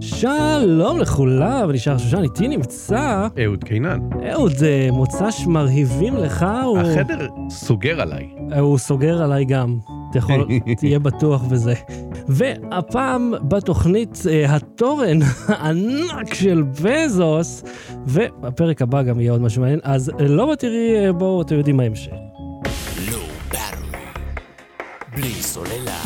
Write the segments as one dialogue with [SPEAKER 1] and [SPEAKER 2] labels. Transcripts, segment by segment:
[SPEAKER 1] שלום לכולם, אני שר שושן, איתי נמצא
[SPEAKER 2] אהוד קינן.
[SPEAKER 1] אהוד, אה, מוצ"ש מרהיבים לך, הוא,
[SPEAKER 2] החדר סוגר עליי.
[SPEAKER 1] אה, הוא סוגר עליי גם. אתה יכול, תהיה בטוח בזה. והפעם בתוכנית אה, התורן הענק של בזוס, ובפרק הבא גם יהיה עוד משהו מעניין, אז אה, לא בתראי, אה, בואו, אתם יודעים מה ההמשך.
[SPEAKER 3] בלי סוללה.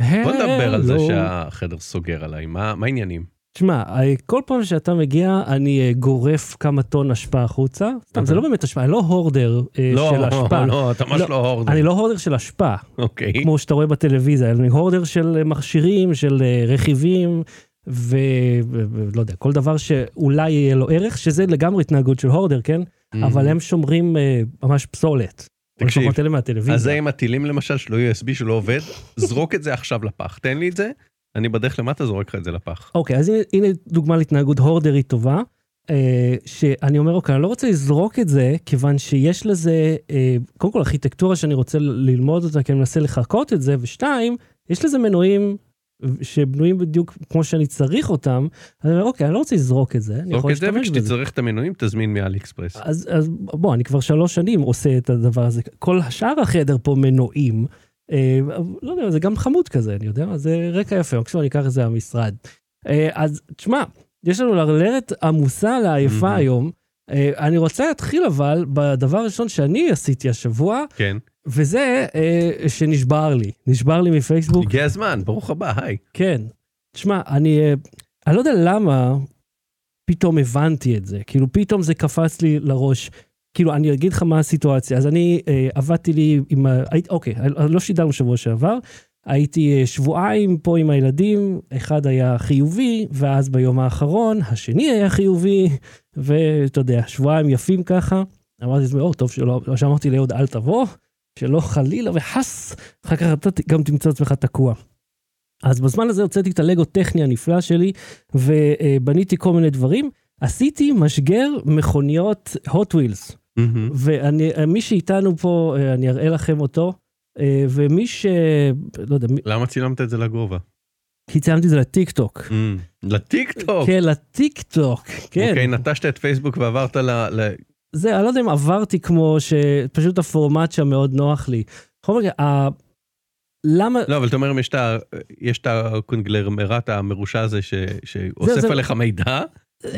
[SPEAKER 1] אה,
[SPEAKER 2] בוא נדבר על זה
[SPEAKER 1] הלו.
[SPEAKER 2] שהחדר סוגר עליי, מה מה העניינים?
[SPEAKER 1] תשמע, אה, כל פעם שאתה מגיע, אני אה, גורף כמה טון אשפה החוצה. סתם, זה לא באמת אשפה, אני לא הורדר אה,
[SPEAKER 2] אוקיי. לא,
[SPEAKER 1] של אשפה.
[SPEAKER 2] לא, אתה ממש
[SPEAKER 1] לא,
[SPEAKER 2] לא הורדר.
[SPEAKER 1] אני לא הורדר של אשפה,
[SPEAKER 2] אוקיי.
[SPEAKER 1] כמו שאתה רואה בטלוויזיה, אני הורדר של אה, מכשירים, של אה, רכיבים, ולא לא יודע, כל דבר שאולי יהיה לו ערך, שזה לגמרי התנהגות של הורדר, כן?
[SPEAKER 2] Mm-hmm.
[SPEAKER 1] אבל הם שומרים אה, ממש פסולת.
[SPEAKER 2] תקשיב,
[SPEAKER 1] לפחות אלה
[SPEAKER 2] אז זה
[SPEAKER 1] מהטלוויזיה.
[SPEAKER 2] עם הטילים למשל שלא USB שלא לא עובד, זרוק את זה עכשיו לפח, תן לי את זה, אני בדרך למטה זורק לך את זה לפח.
[SPEAKER 1] אוקיי, אז הנה- הנה דוגמה להתנהגות הורדרית טובה, אה, שאני אומר, אוקיי, אני לא רוצה לזרוק את זה, כיוון שיש לזה, אה, קודם כל ארכיטקטורה שאני רוצה ל- ללמוד אותה, כי אני מנסה לחקות את זה, ושתיים, יש לזה מנועים שבנויים בדיוק כמו שאני צריך אותם, אז אני אומר, אוקיי, אני לא רוצה לזרוק את זה, אני
[SPEAKER 2] זרוק
[SPEAKER 1] יכול
[SPEAKER 2] את זה,
[SPEAKER 1] להשתמש בזה. אה,
[SPEAKER 2] וכשתצטרך את המנויים תזמין מאלי אקספרס.
[SPEAKER 1] אז, אז בוא, אני כבר שלוש שנים עושה את הדבר הזה. כל השאר החדר פה מנועים. אה, אבל לא יודע, זה גם חמוד כזה, אני יודע, מה, זה רקע יפה. עכשיו אני אקח את זה מהמשרד. אה, אז תשמע, יש לנו לרלרת עמוסה לעייפה
[SPEAKER 2] Mhm.
[SPEAKER 1] היום. אה, אני רוצה להתחיל אבל בדבר הראשון שאני עשיתי השבוע,
[SPEAKER 2] כן,
[SPEAKER 1] וזה אה, שנשבר לי. נשבר לי מפייסבוק.
[SPEAKER 2] הגיע הזמן, ברוך הבא, היי.
[SPEAKER 1] כן. תשמע, אני, אה, אני לא יודע למה פתאום הבנתי את זה. כאילו, פתאום זה קפץ לי לראש. כאילו, אני אגיד לך מה הסיטואציה. אז אני אה, עבדתי לי עם... ה- הייתי, אוקיי, אה, לא שידרנו שבוע שעבר. הייתי אה, שבועיים פה עם הילדים, אחד היה חיובי, ואז ביום האחרון השני היה חיובי, ואתה יודע, שבועיים יפים ככה. אמרתי לעצמי, או, טוב שלא, לא שאמרתי ליהוד, אל תבוא, שלא חלילה וחס, אחר כך אתה ת- גם תמצא עצמך תקוע. אז בזמן הזה הוצאתי את הלגו טכני הנפלא שלי, ובניתי כל מיני דברים. עשיתי משגר מכוניות hot wheels,
[SPEAKER 2] מהמם.
[SPEAKER 1] ומי שאיתנו פה, אה, אני אראה לכם אותו, אה, ומי ש... לא יודע, מי-
[SPEAKER 2] למה צילמת את זה לגובה?
[SPEAKER 1] כי צילמתי את זה לטיק טוק.
[SPEAKER 2] מ, לטיק טוק.
[SPEAKER 1] כן, לטיק טוק, כן.
[SPEAKER 2] אוקיי, נטשת את פייסבוק ועברת ל... ל-
[SPEAKER 1] זה, אני לא יודע אם עברתי כמו ש... פשוט הפורמט שם מאוד נוח לי. בכל מקרה, ה- למה...
[SPEAKER 2] לא, אבל אתה אומר, אם יש את ה- יש את הקונגלרמרט המרושע הזה ש- שאוסף
[SPEAKER 1] זה-
[SPEAKER 2] עליך מידע,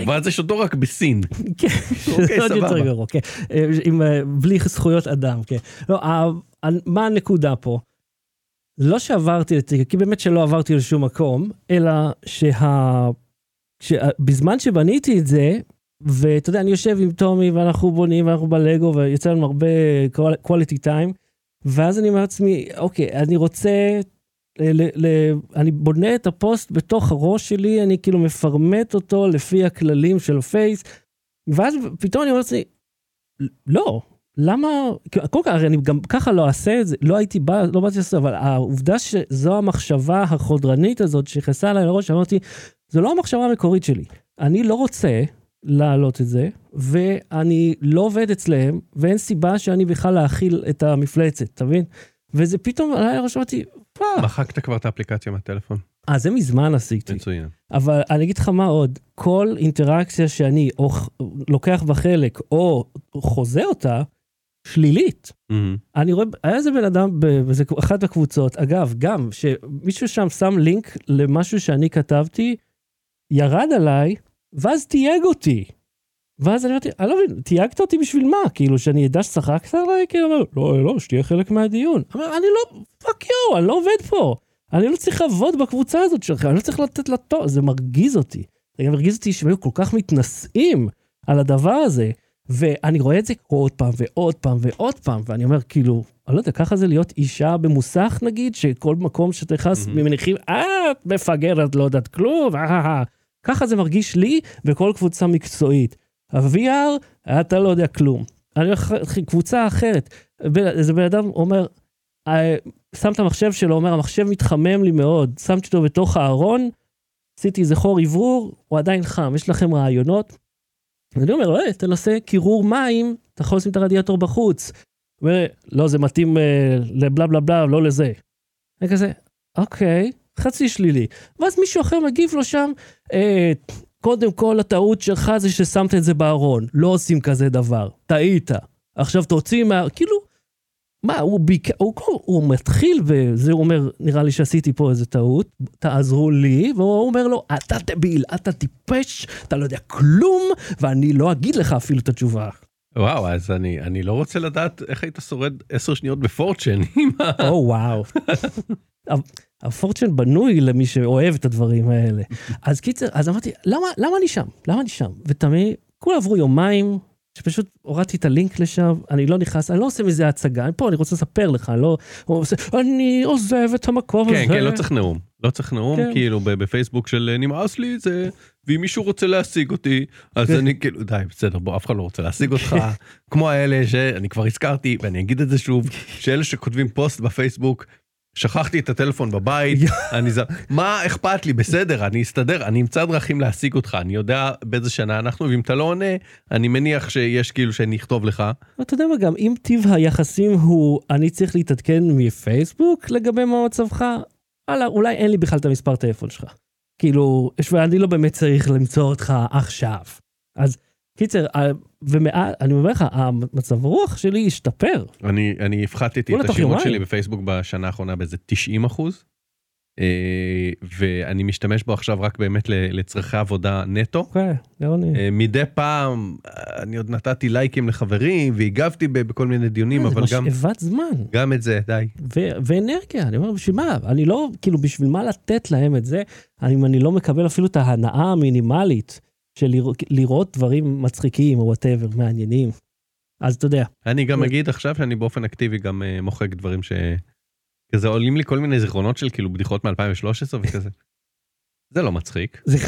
[SPEAKER 2] ואז יש אותו רק בסין.
[SPEAKER 1] כן,
[SPEAKER 2] אוקיי,
[SPEAKER 1] זה עוד יותר
[SPEAKER 2] סבבה.
[SPEAKER 1] גרוע, כן. אה, עם, אה, בלי זכויות אדם, כן. לא, ה- ה- מה הנקודה פה? לא שעברתי לטיקטוק, כי באמת שלא עברתי לשום מקום, אלא שה... שה- בזמן שבניתי את זה, ואתה יודע, אני יושב עם טומי, ואנחנו בונים, ואנחנו בלגו, ויוצא לנו הרבה quality time, ואז אני אומר לעצמי, אוקיי, אני רוצה... אה, ל, ל, ל, אני בונה את הפוסט בתוך הראש שלי, אני כאילו מפרמט אותו לפי הכללים של פייס, ואז פתאום אני אומר לעצמי, לא, למה, כאילו, קודם כל הרי אני גם ככה לא אעשה את זה, לא הייתי בא, לא באתי לעשות, אבל העובדה שזו המחשבה החודרנית הזאת שנכנסה אליי לראש, אמרתי, זו לא המחשבה המקורית שלי. אני לא רוצה להעלות את זה, ואני לא עובד אצלהם, ואין סיבה שאני בכלל להכיל את המפלצת, אתה מבין? וזה פתאום עלה לי לראש, אמרתי, וואו.
[SPEAKER 2] מחקת כבר את האפליקציה מהטלפון.
[SPEAKER 1] אה, זה מזמן עשיתי.
[SPEAKER 2] מצוין.
[SPEAKER 1] אבל אני אגיד לך מה עוד, כל אינטראקציה שאני או ח- לוקח בה חלק או חוזה אותה, שלילית.
[SPEAKER 2] מהמם.
[SPEAKER 1] אני רואה, היה איזה בן אדם, זה אחת הקבוצות, אגב, גם, שמישהו שם שם לינק למשהו שאני כתבתי, ירד עליי, ואז תייג אותי. ואז אני אמרתי, אני לא מבין, תייגת אותי בשביל מה? כאילו, שאני אדע שצחקת עליי? כאילו, הוא אומר, לא, לא, שתהיה חלק מהדיון. אמר, אני לא, פאק יו, אני לא עובד פה. אני לא צריך לעבוד בקבוצה הזאת שלכם, אני לא צריך לתת לה תור, זה מרגיז אותי. זה גם מרגיז אותי שהם היו כל כך מתנשאים על הדבר הזה, ואני רואה את זה עוד פעם ועוד פעם ועוד פעם, ואני אומר, כאילו, אני לא יודע, ככה זה להיות אישה במוסך נגיד, שכל מקום שאתה נכנס,
[SPEAKER 2] מהמם.
[SPEAKER 1] מניחים, את מפגרת, לא יודעת כלום, אה, אה, אה." ככה זה מרגיש לי בכל קבוצה מקצועית. ה-VR, אתה לא יודע כלום. אני אומר לך, קבוצה אחרת, בן- איזה בן אדם אומר, "אה, שם את המחשב שלו, אומר, המחשב מתחמם לי מאוד, שמתי אותו בתוך הארון, עשיתי איזה חור אוורור, הוא עדיין חם, יש לכם רעיונות? אני אומר, לא, תנסה קירור מים, אתה יכול לשים את הרדיאטור בחוץ. הוא אומר, לא, זה מתאים אה, לבלה בלה בלה, לא לזה. אני כזה, אוקיי, חצי שלילי. ואז מישהו אחר מגיב לו שם, אה, קודם כל הטעות שלך זה ששמת את זה בארון, לא עושים כזה דבר, טעית. עכשיו תוציא מה... כאילו, מה, הוא בעיקר, הוא, הוא, הוא מתחיל וזה, הוא אומר, נראה לי שעשיתי פה איזה טעות, תעזרו לי, והוא אומר לו, אתה דביל, אתה טיפש, אתה לא יודע כלום, ואני לא אגיד לך אפילו את התשובה.
[SPEAKER 2] וואו, אז אני, אני לא רוצה לדעת איך היית שורד 10 שניות בפורצ'ן.
[SPEAKER 1] או וואו. הפורצ'ן Um, בנוי למי שאוהב את הדברים האלה. אז קיצר, אז אמרתי, למה, למה אני שם? למה אני שם? ותמיד, כולם עברו יומיים, שפשוט הורדתי את הלינק לשם, אני לא נכנס, אני לא עושה מזה הצגה, אני פה, אני רוצה לספר לך, אני לא... הוא עושה, אני עוזב את המקום הזה.
[SPEAKER 2] כן, כן, לא צריך נאום. לא צריך נאום,
[SPEAKER 1] כן.
[SPEAKER 2] כאילו, ב- בפייסבוק של אה, נמאס לי זה, ואם מישהו רוצה להשיג אותי, אז
[SPEAKER 1] כן.
[SPEAKER 2] אני כאילו, די, בסדר, בוא, אף אחד לא רוצה להשיג אותך. כמו האלה שאני כבר הזכרתי, ואני אגיד את זה שוב, שאלה שכותבים פוסט בפייסבוק, שכחתי את הטלפון בבית, אני ז... מה אכפת לי, בסדר, אני אסתדר, אני אמצא דרכים להשיג אותך, אני יודע באיזה שנה אנחנו, ואם אתה לא עונה, אני מניח שיש כאילו שאני אכתוב לך.
[SPEAKER 1] אתה יודע מה גם, אם טיב היחסים הוא, אני צריך להתעדכן מפייסבוק לגבי מה מצבך, וואלה, אולי אין לי בכלל את המספר טלפון שלך. כאילו, יש- ואני לא באמת צריך למצוא אותך עכשיו. אז קיצר, אה, ומעל, אני אומר לך, המצב רוח שלי השתפר.
[SPEAKER 2] אני, אני הפחתתי
[SPEAKER 1] וואלה,
[SPEAKER 2] את
[SPEAKER 1] תוך
[SPEAKER 2] השירות
[SPEAKER 1] יומיים.
[SPEAKER 2] שלי בפייסבוק בשנה האחרונה באיזה 90 אחוז, אה, ואני משתמש בו עכשיו רק באמת ל- לצרכי עבודה נטו.
[SPEAKER 1] אוקיי, גאוני.
[SPEAKER 2] אה, מדי פעם אה, אני עוד נתתי לייקים לחברים והגבתי ב- בכל מיני דיונים,
[SPEAKER 1] כן, אה, זה
[SPEAKER 2] אבל גם,
[SPEAKER 1] משאבת זמן.
[SPEAKER 2] גם את זה, די.
[SPEAKER 1] ו- ואנרגיה, אני אומר, בשביל מה? אני לא, כאילו, בשביל מה לתת להם את זה, אני- אם אני לא מקבל אפילו את ההנאה המינימלית של לרא- לראות דברים מצחיקים או וואטאבר, מעניינים. אז אתה יודע,
[SPEAKER 2] אני גם
[SPEAKER 1] אוי.
[SPEAKER 2] אגיד עכשיו שאני באופן אקטיבי גם אה, מוחק דברים ש... כזה עולים לי כל מיני זיכרונות של כאילו בדיחות מ-2013 וכזה. זה לא מצחיק.
[SPEAKER 1] זה...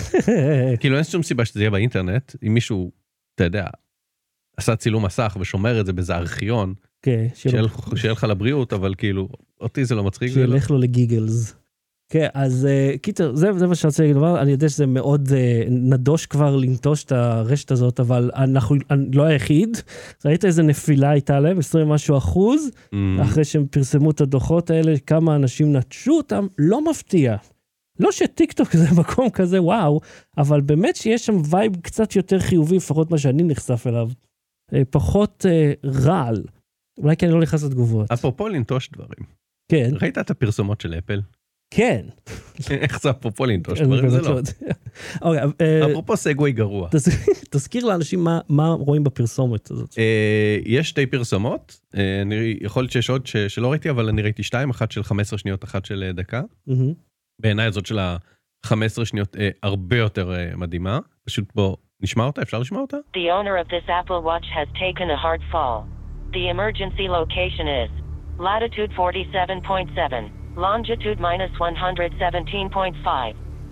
[SPEAKER 2] כאילו אין שום סיבה שזה יהיה באינטרנט, אם מישהו, אתה יודע, עשה צילום מסך ושומר את זה באיזה ארכיון,
[SPEAKER 1] כן, שלא-
[SPEAKER 2] שיהיה לך- שיהיה לך לבריאות, אבל כאילו, אותי זה לא מצחיק. זה לא-
[SPEAKER 1] שילך לו לגיגלס. כן, אז אה, קיצר, זה, זה מה שאני רוצה להגיד, אבל אני יודע שזה מאוד אה, נדוש כבר לנטוש את הרשת הזאת, אבל אנחנו אני לא היחיד. ראית איזה נפילה הייתה להם, 20 משהו אחוז,
[SPEAKER 2] Mm,
[SPEAKER 1] אחרי שהם פרסמו את הדוחות האלה, כמה אנשים נטשו אותם, לא מפתיע. לא שטיקטוק זה מקום כזה וואו, אבל באמת שיש שם וייב קצת יותר חיובי, לפחות מה שאני נחשף אליו. אה, פחות אה, רעל. אולי כי אני לא נכנס לתגובות.
[SPEAKER 2] אפרופו לנטוש דברים,
[SPEAKER 1] כן,
[SPEAKER 2] ראית את הפרסומות של אפל?
[SPEAKER 1] כן.
[SPEAKER 2] איך זה אפרופו לנטוש
[SPEAKER 1] אני
[SPEAKER 2] דברים? זה
[SPEAKER 1] באמת
[SPEAKER 2] לא.
[SPEAKER 1] יודע. אוקיי, אה,
[SPEAKER 2] אפרופו סגווי גרוע.
[SPEAKER 1] תז- תזכיר לאנשים מה- מה רואים בפרסומת הזאת.
[SPEAKER 2] אה, יש שתי פרסומות, אה, אני- יכול להיות שיש עוד ש- שלא ראיתי, אבל אני ראיתי שתיים, אחת של 15 שניות, אחת של אה, דקה.
[SPEAKER 1] מהמם.
[SPEAKER 2] בעיניי זאת של ה-15 שניות אה, הרבה יותר אה, מדהימה. פשוט בוא, נשמע אותה? אפשר לשמוע אותה?
[SPEAKER 4] The owner of this Apple Watch has taken a hard fall. The emergency location is latitude 47.7, longitude minus 117.5.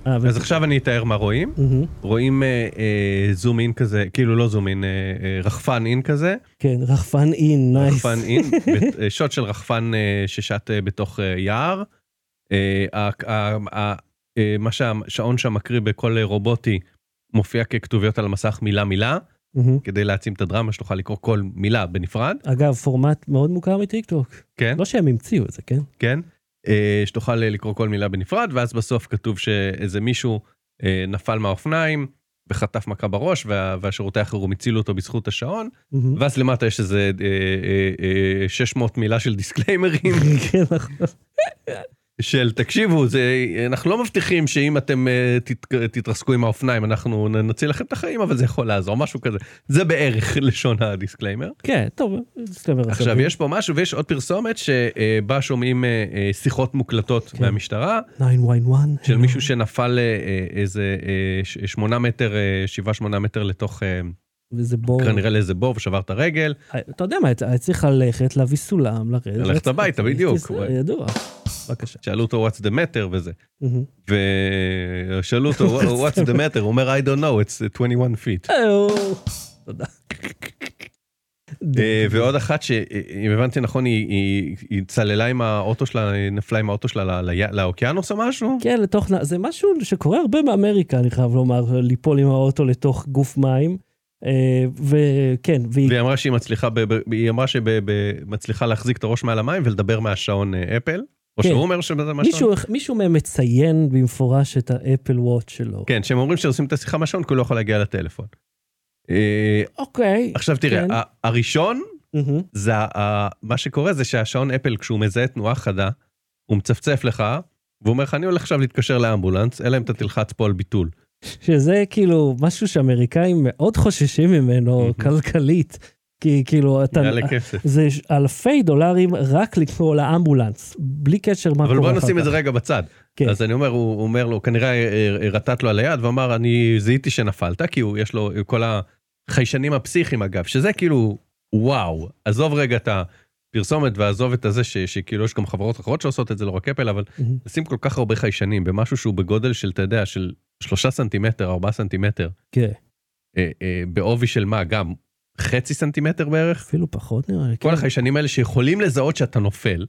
[SPEAKER 1] אה, ו-
[SPEAKER 2] אז עכשיו אני אתאר מה רואים.
[SPEAKER 1] מהמם.
[SPEAKER 2] רואים אה, אה, זום אין כזה, כאילו לא זום אין, אה, אה, רחפן אין כזה.
[SPEAKER 1] כן, רחפן אין, נייס.
[SPEAKER 2] רחפן אין, בת- אה, שוט של רחפן אה, ששט אה, בתוך אה, יער. אה, ה- ה- ה- אה, מה שהשעון שם מקריא בכל אה, רובוטי מופיע ככתוביות על המסך מילה מילה,
[SPEAKER 1] מהמם.
[SPEAKER 2] כדי להעצים את הדרמה שתוכל לקרוא כל מילה בנפרד,
[SPEAKER 1] אגב, פורמט מאוד מוכר מטיקטוק.
[SPEAKER 2] כן?
[SPEAKER 1] לא שהם המציאו את זה, כן?
[SPEAKER 2] כן? אה, שתוכל אה, לקרוא כל מילה בנפרד, ואז בסוף כתוב שאיזה מישהו אה, נפל מהאופניים וחטף מכה בראש, וה- והשירותי החירום הצילו אותו בזכות השעון,
[SPEAKER 1] מהמם.
[SPEAKER 2] ואז למטה יש איזה אה, אה, אה, 600 מילה של דיסקליימרים,
[SPEAKER 1] כן, נכון.
[SPEAKER 2] של תקשיבו, זה, אנחנו לא מבטיחים שאם אתם אה, תת, תתרסקו עם האופניים אנחנו נ- נציל לכם את החיים, אבל זה יכול לעזור, משהו כזה. זה בערך לשון הדיסקליימר.
[SPEAKER 1] כן, טוב, דיסקלמר
[SPEAKER 2] עכשיו יש פה משהו ויש עוד פרסומת שבה שומעים אה, אה, שיחות מוקלטות
[SPEAKER 1] כן.
[SPEAKER 2] מהמשטרה.
[SPEAKER 1] 911.
[SPEAKER 2] של מישהו שנפל אה, אה, איזה אה, ש- שמונה מטר, אה, שבעה שמונה מטר לתוך, אה,
[SPEAKER 1] וזה בור.
[SPEAKER 2] כנראה לאיזה בור ושבר את הרגל.
[SPEAKER 1] אתה יודע מה, היה צריך ללכת, להביא סולם, לרדת.
[SPEAKER 2] ללכת הביתה, בדיוק.
[SPEAKER 1] זה ידוע. בבקשה.
[SPEAKER 2] שאלו אותו what's the matter וזה.
[SPEAKER 1] מהמם.
[SPEAKER 2] ושאלו אותו what's the matter, הוא אומר I don't know, it's 21 feet.
[SPEAKER 1] אהו. תודה.
[SPEAKER 2] אה, ועוד אחת שאם הבנתי נכון, היא- היא היא צללה עם האוטו שלה, היא נפלה עם האוטו שלה ל- ל- לאוקיינוס או משהו?
[SPEAKER 1] כן, לתוך... נ- זה משהו שקורה הרבה באמריקה, אני חייב לומר, ליפול עם האוטו לתוך גוף מים. אה, וכן, והיא...
[SPEAKER 2] והיא אמרה שהיא מצליחה, ב- ב- היא אמרה שהיא מצליחה להחזיק את הראש מעל המים ולדבר מהשעון אה, אפל. או
[SPEAKER 1] כן.
[SPEAKER 2] שהוא אומר שזה מה
[SPEAKER 1] מישהו, מישהו מהם מציין במפורש את האפל וואט שלו.
[SPEAKER 2] כן, שהם אומרים שעושים את השיחה מהשעון כי הוא לא יכול להגיע לטלפון. אה,
[SPEAKER 1] אוקיי.
[SPEAKER 2] עכשיו תראה,
[SPEAKER 1] כן.
[SPEAKER 2] ה- הראשון,
[SPEAKER 1] מהמם.
[SPEAKER 2] זה ה- ה- מה שקורה זה שהשעון אפל, כשהוא מזהה תנועה חדה, הוא מצפצף לך, והוא אומר לך, אני הולך עכשיו להתקשר לאמבולנס, אלא אם אתה תלחץ פה על ביטול.
[SPEAKER 1] שזה כאילו משהו שאמריקאים מאוד חוששים ממנו
[SPEAKER 2] Mhm.
[SPEAKER 1] כלכלית. כי כאילו אתה...
[SPEAKER 2] יאללה כסף.
[SPEAKER 1] זה ש- אלפי דולרים רק לקרוא לאמבולנס, בלי קשר מה קורה
[SPEAKER 2] אבל
[SPEAKER 1] אחר כך.
[SPEAKER 2] בוא נשים את זה רגע בצד.
[SPEAKER 1] כן.
[SPEAKER 2] אז אני אומר, הוא הוא אומר לו, הוא כנראה אה, אה, רטט לו על היד ואמר, אני זיהיתי שנפלת, כי הוא, יש לו כל החיישנים הפסיכיים אגב, שזה כאילו, וואו, עזוב רגע את הפרסומת ועזוב את הזה, ש- שכאילו יש גם חברות אחרות שעושות את זה, לא רק אפל, אבל
[SPEAKER 1] מהמם.
[SPEAKER 2] לשים כל כך הרבה חיישנים במשהו שהוא בגודל של, אתה יודע, של שלושה סנטימטר, ארבעה סנטימטר,
[SPEAKER 1] כן,
[SPEAKER 2] אה, אה, בעובי של מה, גם חצי סנטימטר בערך?
[SPEAKER 1] אפילו פחות נראה לי.
[SPEAKER 2] כל
[SPEAKER 1] כן.
[SPEAKER 2] החיישנים האלה שיכולים לזהות שאתה נופל,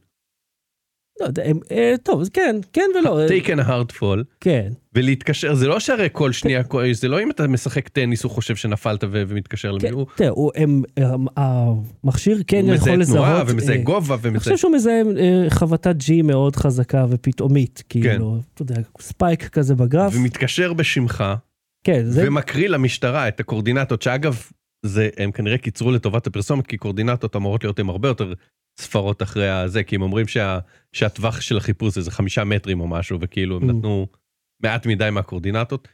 [SPEAKER 1] לא יודע, הם- אה, טוב, אז כן, כן ולא. אה,
[SPEAKER 2] take an hard fall,
[SPEAKER 1] כן.
[SPEAKER 2] ולהתקשר, זה לא שהרי כל שנייה, כל- זה לא אם אתה משחק טניס, הוא חושב שנפלת ו- ומתקשר
[SPEAKER 1] כן,
[SPEAKER 2] למישהו,
[SPEAKER 1] תראה, הוא- הם- הם- המכשיר כן
[SPEAKER 2] הוא
[SPEAKER 1] יכול
[SPEAKER 2] מזהה
[SPEAKER 1] לזהות.
[SPEAKER 2] תנועה ומזהה
[SPEAKER 1] אה,
[SPEAKER 2] גובה
[SPEAKER 1] אני
[SPEAKER 2] ומזהה...
[SPEAKER 1] חושב שהוא מזהה אה, חבטת G מאוד חזקה
[SPEAKER 2] כן.
[SPEAKER 1] ופתאומית, כאילו, אתה יודע, ספייק כזה בגרף.
[SPEAKER 2] ומתקשר בשמך,
[SPEAKER 1] כן, זה...
[SPEAKER 2] ומקריא למשטרה את הקורדינטות, שאגב, זה, הם כנראה קיצרו לטובת הפרסומת, כי קורדינטות אמורות להיות הם הרבה יותר ספרות אחרי הזה, כי הם אומרים שה, שהטווח של החיפוש זה חמישה מטרים או משהו, וכאילו הם
[SPEAKER 1] Mm.
[SPEAKER 2] נתנו מעט מדי מהקורדינטות.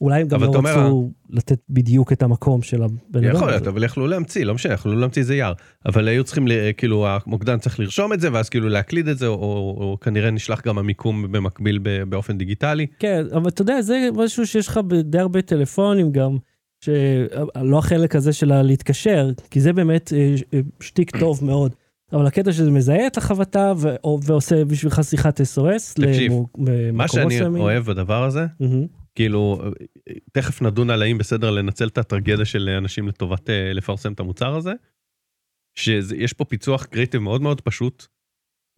[SPEAKER 1] אולי הם גם
[SPEAKER 2] אבל
[SPEAKER 1] לא
[SPEAKER 2] אתה אומר,
[SPEAKER 1] רצו לתת בדיוק את המקום של הבן אדם.
[SPEAKER 2] יכול להיות,
[SPEAKER 1] הזה.
[SPEAKER 2] אבל יכלו להמציא, לא משנה, יכלו להמציא איזה יער. אבל היו צריכים, ל- כאילו, המוקדן צריך לרשום את זה, ואז כאילו להקליד את זה, או, או, או כנראה נשלח גם המיקום במקביל ב- באופן דיגיטלי.
[SPEAKER 1] כן, אבל אתה יודע, זה משהו שיש לך די הרבה טלפונים גם, שלא החלק הזה של הלהתקשר, כי זה באמת אה, ש- אה, שטיק טוב מאוד. אבל הקטע שזה מזהה את החבטה ו- או- ועושה בשבילך שיחת SOS
[SPEAKER 2] תקשיב,
[SPEAKER 1] למו- למקומות
[SPEAKER 2] מה שאני
[SPEAKER 1] מסוימים.
[SPEAKER 2] אוהב בדבר הזה,
[SPEAKER 1] מהמם.
[SPEAKER 2] כאילו, תכף נדון על האם בסדר לנצל את הטרגדיה של אנשים לטובת אה, לפרסם את המוצר הזה, שיש פה פיצוח קריטי מאוד מאוד פשוט.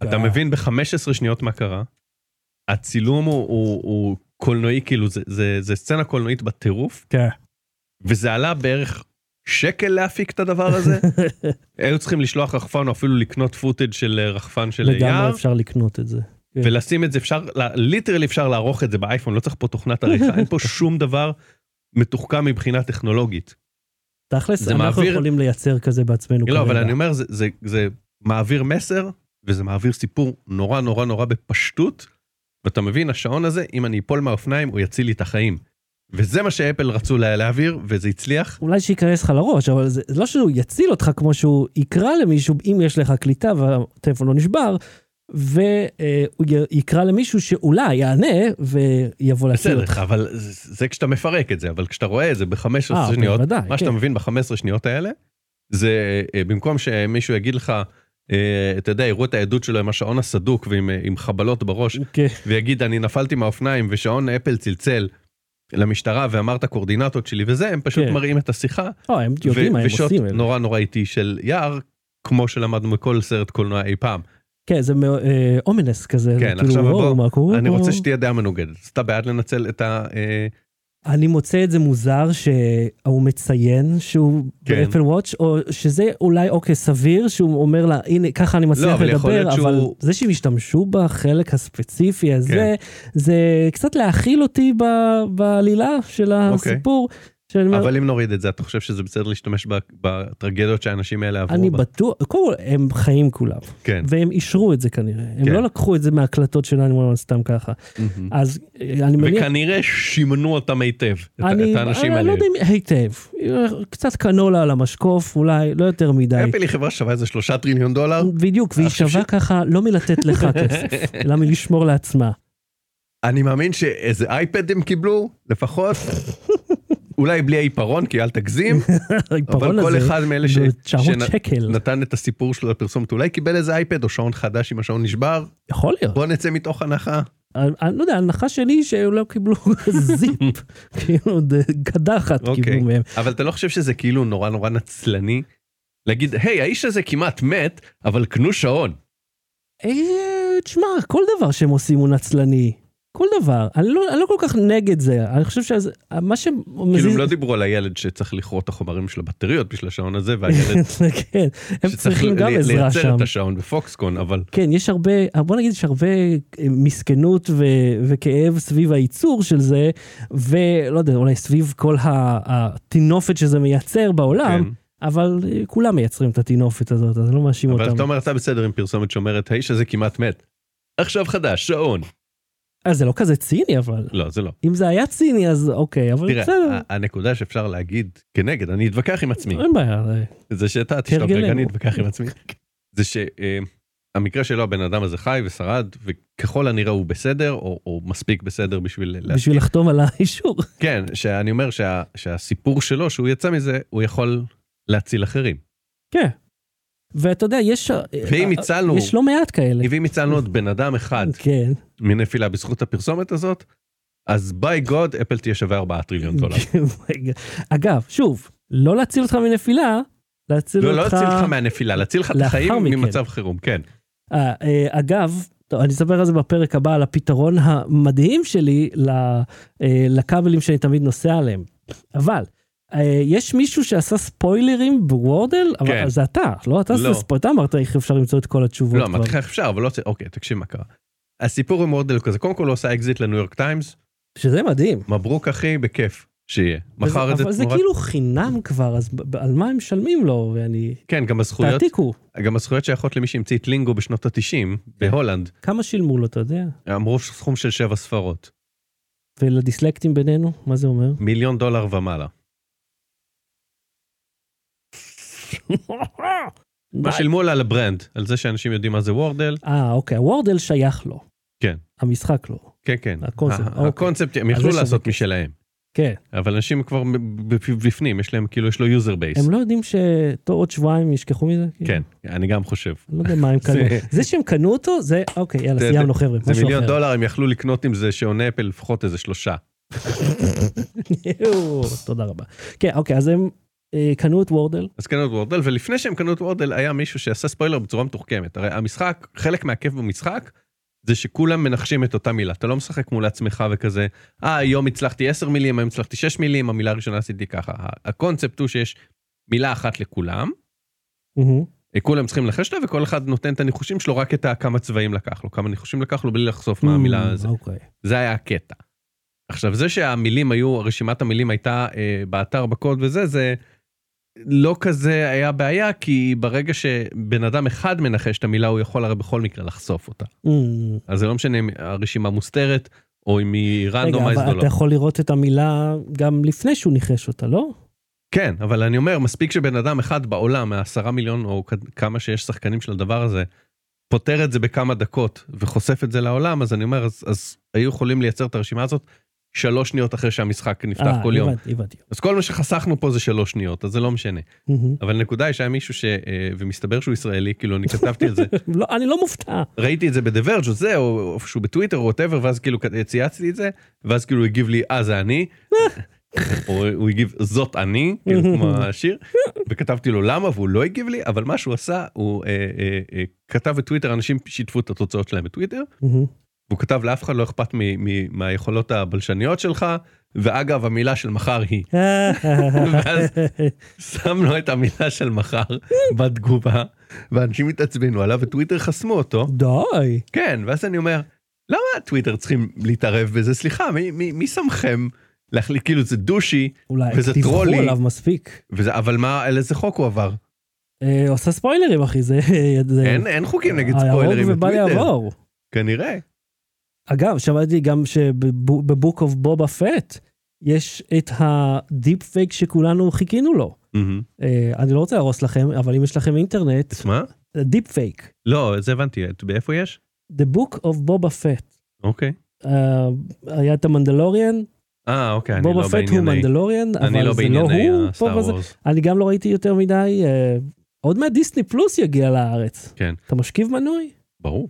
[SPEAKER 2] אתה
[SPEAKER 1] אה.
[SPEAKER 2] מבין ב-15 שניות מה קרה, הצילום הוא, הוא, הוא קולנועי, כאילו, זה, זה, זה סצנה קולנועית בטירוף,
[SPEAKER 1] כן.
[SPEAKER 2] וזה עלה בערך שקל להפיק את הדבר הזה. היו צריכים לשלוח רחפן או אפילו לקנות פוטג' של אה, רחפן של
[SPEAKER 1] לגמרי
[SPEAKER 2] יער.
[SPEAKER 1] אפשר לקנות את זה. כן.
[SPEAKER 2] ולשים את זה אפשר, ליטרלי אפשר לערוך את זה באייפון, לא צריך פה תוכנת עריכה, אין פה שום דבר מתוחכם מבחינה טכנולוגית.
[SPEAKER 1] תכלס,
[SPEAKER 2] זה
[SPEAKER 1] אנחנו
[SPEAKER 2] מעביר-
[SPEAKER 1] יכולים לייצר כזה בעצמנו.
[SPEAKER 2] לא, אבל
[SPEAKER 1] כרגע.
[SPEAKER 2] אני אומר, זה- זה- זה מעביר מסר, וזה מעביר סיפור נורא נורא נורא בפשטות, ואתה מבין, השעון הזה, אם אני אפול מהאופניים, הוא יציל לי את החיים. וזה מה שאפל רצו לה- להעביר, וזה הצליח.
[SPEAKER 1] אולי שייכנס לך לראש, אבל זה זה לא שהוא יציל אותך כמו שהוא יקרא למישהו, אם יש לך קליטה והטלפון לא נשבר, והוא יקרא למישהו שאולי יענה ויבוא להציל
[SPEAKER 2] בסדר,
[SPEAKER 1] אותך.
[SPEAKER 2] אבל זה זה כשאתה מפרק את זה, אבל כשאתה רואה את זה
[SPEAKER 1] אה,
[SPEAKER 2] ב-15 שניות,
[SPEAKER 1] בוודאי,
[SPEAKER 2] מה שאתה
[SPEAKER 1] כן.
[SPEAKER 2] מבין ב-15 שניות האלה, זה אה, במקום שמישהו יגיד לך, אה, אתה יודע, יראו את העדות שלו עם השעון הסדוק ועם אה, עם חבלות בראש,
[SPEAKER 1] כן,
[SPEAKER 2] ויגיד, אני נפלתי מהאופניים ושעון אפל צלצל למשטרה ואמר את הקורדינטות שלי וזה, הם פשוט
[SPEAKER 1] כן.
[SPEAKER 2] מראים את השיחה.
[SPEAKER 1] לא, הם
[SPEAKER 2] ו-
[SPEAKER 1] יודעים מה הם
[SPEAKER 2] ושוט
[SPEAKER 1] עושים. אלה.
[SPEAKER 2] נורא נורא איטי של יער, כמו שלמדנו מכל סרט קולנוע אי פעם.
[SPEAKER 1] כן, זה אומנס כזה, זה
[SPEAKER 2] כן,
[SPEAKER 1] כאילו,
[SPEAKER 2] עכשיו
[SPEAKER 1] וואו,
[SPEAKER 2] בוא,
[SPEAKER 1] מה קורה
[SPEAKER 2] אני
[SPEAKER 1] פה?
[SPEAKER 2] רוצה שתהיה דעה מנוגדת. אז אתה בעד לנצל את ה... אה,
[SPEAKER 1] אני מוצא את זה מוזר שהוא מציין שהוא
[SPEAKER 2] כן.
[SPEAKER 1] באפל וואץ', או שזה אולי אוקיי סביר שהוא אומר לה הנה ככה אני מצליח
[SPEAKER 2] לא, אבל יכול
[SPEAKER 1] לדבר,
[SPEAKER 2] להיות
[SPEAKER 1] אבל
[SPEAKER 2] שהוא- כן.
[SPEAKER 1] זה שהם השתמשו בחלק הספציפי הזה, זה קצת להכיל אותי ב- בעלילה של הסיפור. שאני אומר,
[SPEAKER 2] אוקיי. אבל אם נוריד את זה, אתה חושב שזה בסדר להשתמש ב- בטרגדיות שהאנשים האלה עברו?
[SPEAKER 1] אני
[SPEAKER 2] בה?
[SPEAKER 1] בטוח, קודם כל הם חיים כולם,
[SPEAKER 2] כן.
[SPEAKER 1] והם אישרו את זה כנראה, הם
[SPEAKER 2] כן. Mm.
[SPEAKER 1] לא לקחו את זה מהקלטות של 911 סתם ככה,
[SPEAKER 2] מהמם.
[SPEAKER 1] אז אה, אני מניח...
[SPEAKER 2] וכנראה שימנו אותם היטב, את ה-
[SPEAKER 1] אני,
[SPEAKER 2] את האנשים
[SPEAKER 1] אני
[SPEAKER 2] האלה.
[SPEAKER 1] לא יודע אם היטב, קצת קנולה על המשקוף, אולי, לא יותר מדי.
[SPEAKER 2] אפל היא חברה ששווה איזה שלושה טריליון דולר.
[SPEAKER 1] בדיוק, והיא
[SPEAKER 2] עכשיו
[SPEAKER 1] שווה
[SPEAKER 2] לא. ש-
[SPEAKER 1] ככה לא מלתת לך כסף, אלא מלשמור לעצמה.
[SPEAKER 2] אני מאמין שאיזה אייפד הם קיבלו, לפחות. אולי בלי העיפרון, כי אל תגזים,
[SPEAKER 1] העיפרון
[SPEAKER 2] אבל כל
[SPEAKER 1] הזה
[SPEAKER 2] אחד מאלה ש-
[SPEAKER 1] זה 900
[SPEAKER 2] שנ-
[SPEAKER 1] שקל,
[SPEAKER 2] נתן את הסיפור שלו לפרסומת, אולי קיבל איזה אייפד או שעון חדש אם השעון נשבר.
[SPEAKER 1] יכול להיות.
[SPEAKER 2] בוא נצא מתוך הנחה.
[SPEAKER 1] אני אני לא יודע, ההנחה שלי היא שהם לא קיבלו זיפ, כאילו ד- קדחת
[SPEAKER 2] אוקיי.
[SPEAKER 1] קיבלו מהם.
[SPEAKER 2] אבל אתה לא חושב שזה כאילו נורא נורא נצלני? להגיד, היי, האיש הזה כמעט מת, אבל קנו שעון.
[SPEAKER 1] אה, תשמע, כל דבר שהם עושים הוא נצלני. כל דבר. אני לא, אני לא כל כך נגד זה, אני חושב שזה, מה שמזיז...
[SPEAKER 2] כאילו הם לא דיברו על הילד שצריך לכרות את החומרים של הבטריות בשביל השעון הזה, והילד
[SPEAKER 1] כן, הם
[SPEAKER 2] לא- שצריך
[SPEAKER 1] צריכים גם
[SPEAKER 2] ל-
[SPEAKER 1] עזרה
[SPEAKER 2] לייצר
[SPEAKER 1] שם.
[SPEAKER 2] את השעון בפוקסקון, אבל
[SPEAKER 1] כן, יש הרבה, בוא נגיד שיש הרבה אה, מסכנות ו, וכאב סביב הייצור של זה, ולא יודע, אולי סביב כל ה- הטינופת שזה מייצר בעולם,
[SPEAKER 2] כן.
[SPEAKER 1] אבל אה, כולם מייצרים את הטינופת הזאת, אז אני לא מאשים
[SPEAKER 2] אבל
[SPEAKER 1] אותם.
[SPEAKER 2] אתה אומר אתה בסדר עם פרסומת שאומרת האיש הזה כמעט מת. עכשיו חדש, שעון.
[SPEAKER 1] אז זה לא כזה ציני, אבל.
[SPEAKER 2] לא, זה לא.
[SPEAKER 1] אם זה היה ציני, אז אוקיי, אבל
[SPEAKER 2] תראה,
[SPEAKER 1] בסדר,
[SPEAKER 2] ה- הנקודה שאפשר להגיד כנגד, אני אתווכח עם עצמי,
[SPEAKER 1] אין בעיה. אה,
[SPEAKER 2] זה שאתה תשתוק
[SPEAKER 1] כהרגלנו.
[SPEAKER 2] רגע, אני אתווכח עם עצמי, זה שהמקרה שלו, הבן אדם הזה חי ושרד, וככל הנראה הוא בסדר, או או מספיק בסדר בשביל... לה-
[SPEAKER 1] בשביל לחתום על האישור.
[SPEAKER 2] כן, שאני אומר שה- שהסיפור שלו, שהוא יצא מזה, הוא יכול להציל אחרים.
[SPEAKER 1] כן. ואתה יודע, יש... אה,
[SPEAKER 2] ואם הצלנו-
[SPEAKER 1] יש לא מעט כאלה.
[SPEAKER 2] ואם הצלנו עוד בן אדם אחד
[SPEAKER 1] כן.
[SPEAKER 2] מנפילה בזכות הפרסומת הזאת, אז ביי גוד, אפל תהיה שווה 4 טריליון דולר.
[SPEAKER 1] אגב, שוב, לא להציל אותך מנפילה, להציל
[SPEAKER 2] לא,
[SPEAKER 1] אותך...
[SPEAKER 2] לא להציל אותך מהנפילה, להציל לך את
[SPEAKER 1] לאחר
[SPEAKER 2] החיים
[SPEAKER 1] מכן.
[SPEAKER 2] ממצב חירום, כן.
[SPEAKER 1] אה, אה, אגב, טוב, אני אספר על זה בפרק הבא, על הפתרון המדהים שלי ל- אה, לכבלים שאני תמיד נוסע עליהם. אבל, אה, יש מישהו שעשה ספוילרים בוורדל? אבל
[SPEAKER 2] כן.
[SPEAKER 1] זה אתה, לא? אתה,
[SPEAKER 2] לא.
[SPEAKER 1] עשית ספו- אתה אמרת איך אפשר למצוא את כל התשובות.
[SPEAKER 2] לא,
[SPEAKER 1] כבר.
[SPEAKER 2] אמרתי לך איך אפשר, אבל לא... אוקיי, תקשיב מה קרה. הסיפור עם מורדל הוא כזה, קודם כל הוא עושה אקזיט לניו יורק טיימס,
[SPEAKER 1] שזה מדהים.
[SPEAKER 2] מברוק אחי, בכיף, שיהיה. מכר את זה
[SPEAKER 1] אבל זה
[SPEAKER 2] תמורת...
[SPEAKER 1] כאילו חינם כבר, אז ב- ב- על מה הם משלמים לו? ואני...
[SPEAKER 2] כן, גם הזכויות,
[SPEAKER 1] תעתיקו.
[SPEAKER 2] גם הזכויות שייכות למי שהמציא את לינגו בשנות ה-90
[SPEAKER 1] כן.
[SPEAKER 2] בהולנד,
[SPEAKER 1] כמה שילמו לו, אתה יודע?
[SPEAKER 2] אמרו סכום של שבע ספרות,
[SPEAKER 1] ולדיסלקטים בינינו, מה זה אומר?
[SPEAKER 2] מיליון דולר ומעלה. מה
[SPEAKER 1] די.
[SPEAKER 2] שילמו לה על הברנד, על זה שאנשים יודעים מה זה וורדל,
[SPEAKER 1] אה, אוקיי, וורדל שייך לו.
[SPEAKER 2] כן.
[SPEAKER 1] המשחק לא.
[SPEAKER 2] כן, כן.
[SPEAKER 1] הקונספט,
[SPEAKER 2] ה-
[SPEAKER 1] אוקיי.
[SPEAKER 2] הקונספט, הם
[SPEAKER 1] אז
[SPEAKER 2] יכלו
[SPEAKER 1] יש לזה
[SPEAKER 2] לעשות
[SPEAKER 1] כסף.
[SPEAKER 2] משלהם,
[SPEAKER 1] כן.
[SPEAKER 2] אבל אנשים כבר ב- ב- בפנים, יש להם, כאילו, יש לו יוזר בייס.
[SPEAKER 1] הם לא יודעים שטוב, עוד שבועיים ישכחו מזה? כאילו?
[SPEAKER 2] כן, אני גם חושב.
[SPEAKER 1] אני לא יודע מה הם
[SPEAKER 2] זה-
[SPEAKER 1] קנו. זה שהם קנו אותו, זה, אוקיי, יאללה,
[SPEAKER 2] זה-
[SPEAKER 1] סיימנו חבר'ה,
[SPEAKER 2] זה
[SPEAKER 1] משהו
[SPEAKER 2] מיליון
[SPEAKER 1] אחר.
[SPEAKER 2] דולר, הם יכלו לקנות עם זה שעוני אפל לפחות איזה שלושה.
[SPEAKER 1] יואו, תודה רבה. כן, אוקיי, אז הם אה, קנו את וורדל.
[SPEAKER 2] אז קנו את וורדל, ולפני שהם קנו את וורדל היה מישהו שעשה ספוילר בצורה מתוחכמת. הרי המשחק, חלק מהכיף במשחק, זה שכולם מנחשים את אותה מילה. אתה לא משחק מול עצמך וכזה, אה, היום הצלחתי 10 מילים, היום הצלחתי 6 מילים, המילה הראשונה עשיתי ככה. ה- הקונספט הוא שיש מילה אחת לכולם,
[SPEAKER 1] מהמם.
[SPEAKER 2] אה, כולם צריכים לנחש לה, וכל אחד נותן את הניחושים שלו, רק את ה- כמה צבעים לקח לו, כמה ניחושים לקח לו, בלי לחשוף מה המילה הזה.
[SPEAKER 1] אוקיי.
[SPEAKER 2] זה היה הקטע. עכשיו זה שהמילים היו, רשימת המילים הייתה אה, באתר בקוד וזה, זה לא כזה היה בעיה, כי ברגע שבן אדם אחד מנחש את המילה, הוא יכול הרי בכל מקרה לחשוף אותה.
[SPEAKER 1] Mm. מהמם.
[SPEAKER 2] אז זה לא משנה אם הרשימה מוסתרת, או אם היא
[SPEAKER 1] רגע,
[SPEAKER 2] רנדומייזד או
[SPEAKER 1] אבל
[SPEAKER 2] לא.
[SPEAKER 1] אתה יכול לראות את המילה גם לפני שהוא ניחש אותה, לא?
[SPEAKER 2] כן, אבל אני אומר, מספיק שבן אדם אחד בעולם, מהעשרה מיליון או כ- כמה שיש שחקנים של הדבר הזה, פותר את זה בכמה דקות וחושף את זה לעולם, אז אני אומר, אז, אז היו יכולים לייצר את הרשימה הזאת שלוש שניות אחרי שהמשחק נפתח
[SPEAKER 1] אה,
[SPEAKER 2] כל יום.
[SPEAKER 1] הבנתי, הבנתי.
[SPEAKER 2] אז כל מה שחסכנו פה זה שלוש שניות, אז זה לא משנה.
[SPEAKER 1] מהמם.
[SPEAKER 2] אבל הנקודה היא שהיה מישהו ש... אה, ומסתבר שהוא ישראלי, כאילו אני כתבתי את זה,
[SPEAKER 1] לא, אני לא מופתע.
[SPEAKER 2] ראיתי את זה בדברג' או זה, או או איפשהו בטוויטר או ווטאבר, ואז כאילו כ- צייצתי את זה, ואז כאילו הוא הגיב לי, אה זה אני, או הוא הגיב, זאת אני, כאילו כמו השיר, וכתבתי לו למה, והוא לא הגיב לי, אבל מה שהוא עשה, הוא אה, אה, אה, כתב בטוויטר, אנשים שיתפו את התוצאות שלהם בטוויטר,
[SPEAKER 1] מהמם.
[SPEAKER 2] והוא כתב לאף אחד לא אכפת מ- מ- מהיכולות הבלשניות שלך, ואגב המילה של מחר היא. ואז שם לו את המילה של מחר בתגובה, ואנשים התעצבנו עליו וטוויטר חסמו אותו.
[SPEAKER 1] די.
[SPEAKER 2] כן, ואז אני אומר, למה הטוויטר צריכים להתערב בזה? סליחה, מי, מי, מי שמכם להחליט, כאילו זה דושי,
[SPEAKER 1] אולי
[SPEAKER 2] וזה
[SPEAKER 1] דיווחו
[SPEAKER 2] טרולי.
[SPEAKER 1] עליו מספיק.
[SPEAKER 2] וזה, אבל מה, על איזה חוק הוא עבר?
[SPEAKER 1] אה, עושה ספוילרים אחי, זה... זה-
[SPEAKER 2] אין, אין חוקים נגד
[SPEAKER 1] ההרוג
[SPEAKER 2] ספוילרים
[SPEAKER 1] אה, ובא
[SPEAKER 2] בטוויטר,
[SPEAKER 1] לעבור.
[SPEAKER 2] כנראה.
[SPEAKER 1] אגב, שמעתי גם שבבוק אוף בובה פט יש את הדיפ פייק שכולנו חיכינו לו.
[SPEAKER 2] מהמם.
[SPEAKER 1] אה, אני לא רוצה להרוס לכם, אבל אם יש לכם אינטרנט,
[SPEAKER 2] מה?
[SPEAKER 1] דיפ פייק.
[SPEAKER 2] לא, זה הבנתי, את- באיפה יש?
[SPEAKER 1] The Book of Boba Fett.
[SPEAKER 2] אוקיי.
[SPEAKER 1] אה, היה את המנדלוריאן,
[SPEAKER 2] אה, אוקיי, אני
[SPEAKER 1] בובה
[SPEAKER 2] לא
[SPEAKER 1] פט הוא
[SPEAKER 2] בענייני.
[SPEAKER 1] מנדלוריאן,
[SPEAKER 2] אני
[SPEAKER 1] אבל
[SPEAKER 2] לא
[SPEAKER 1] זה לא
[SPEAKER 2] בענייני
[SPEAKER 1] הוא. פה
[SPEAKER 2] הסטאר
[SPEAKER 1] וזה-
[SPEAKER 2] וורס.
[SPEAKER 1] אני גם לא ראיתי יותר מדי, אה, עוד מעט דיסני פלוס יגיע לארץ.
[SPEAKER 2] כן.
[SPEAKER 1] אתה משכיב מנוי,
[SPEAKER 2] ברור.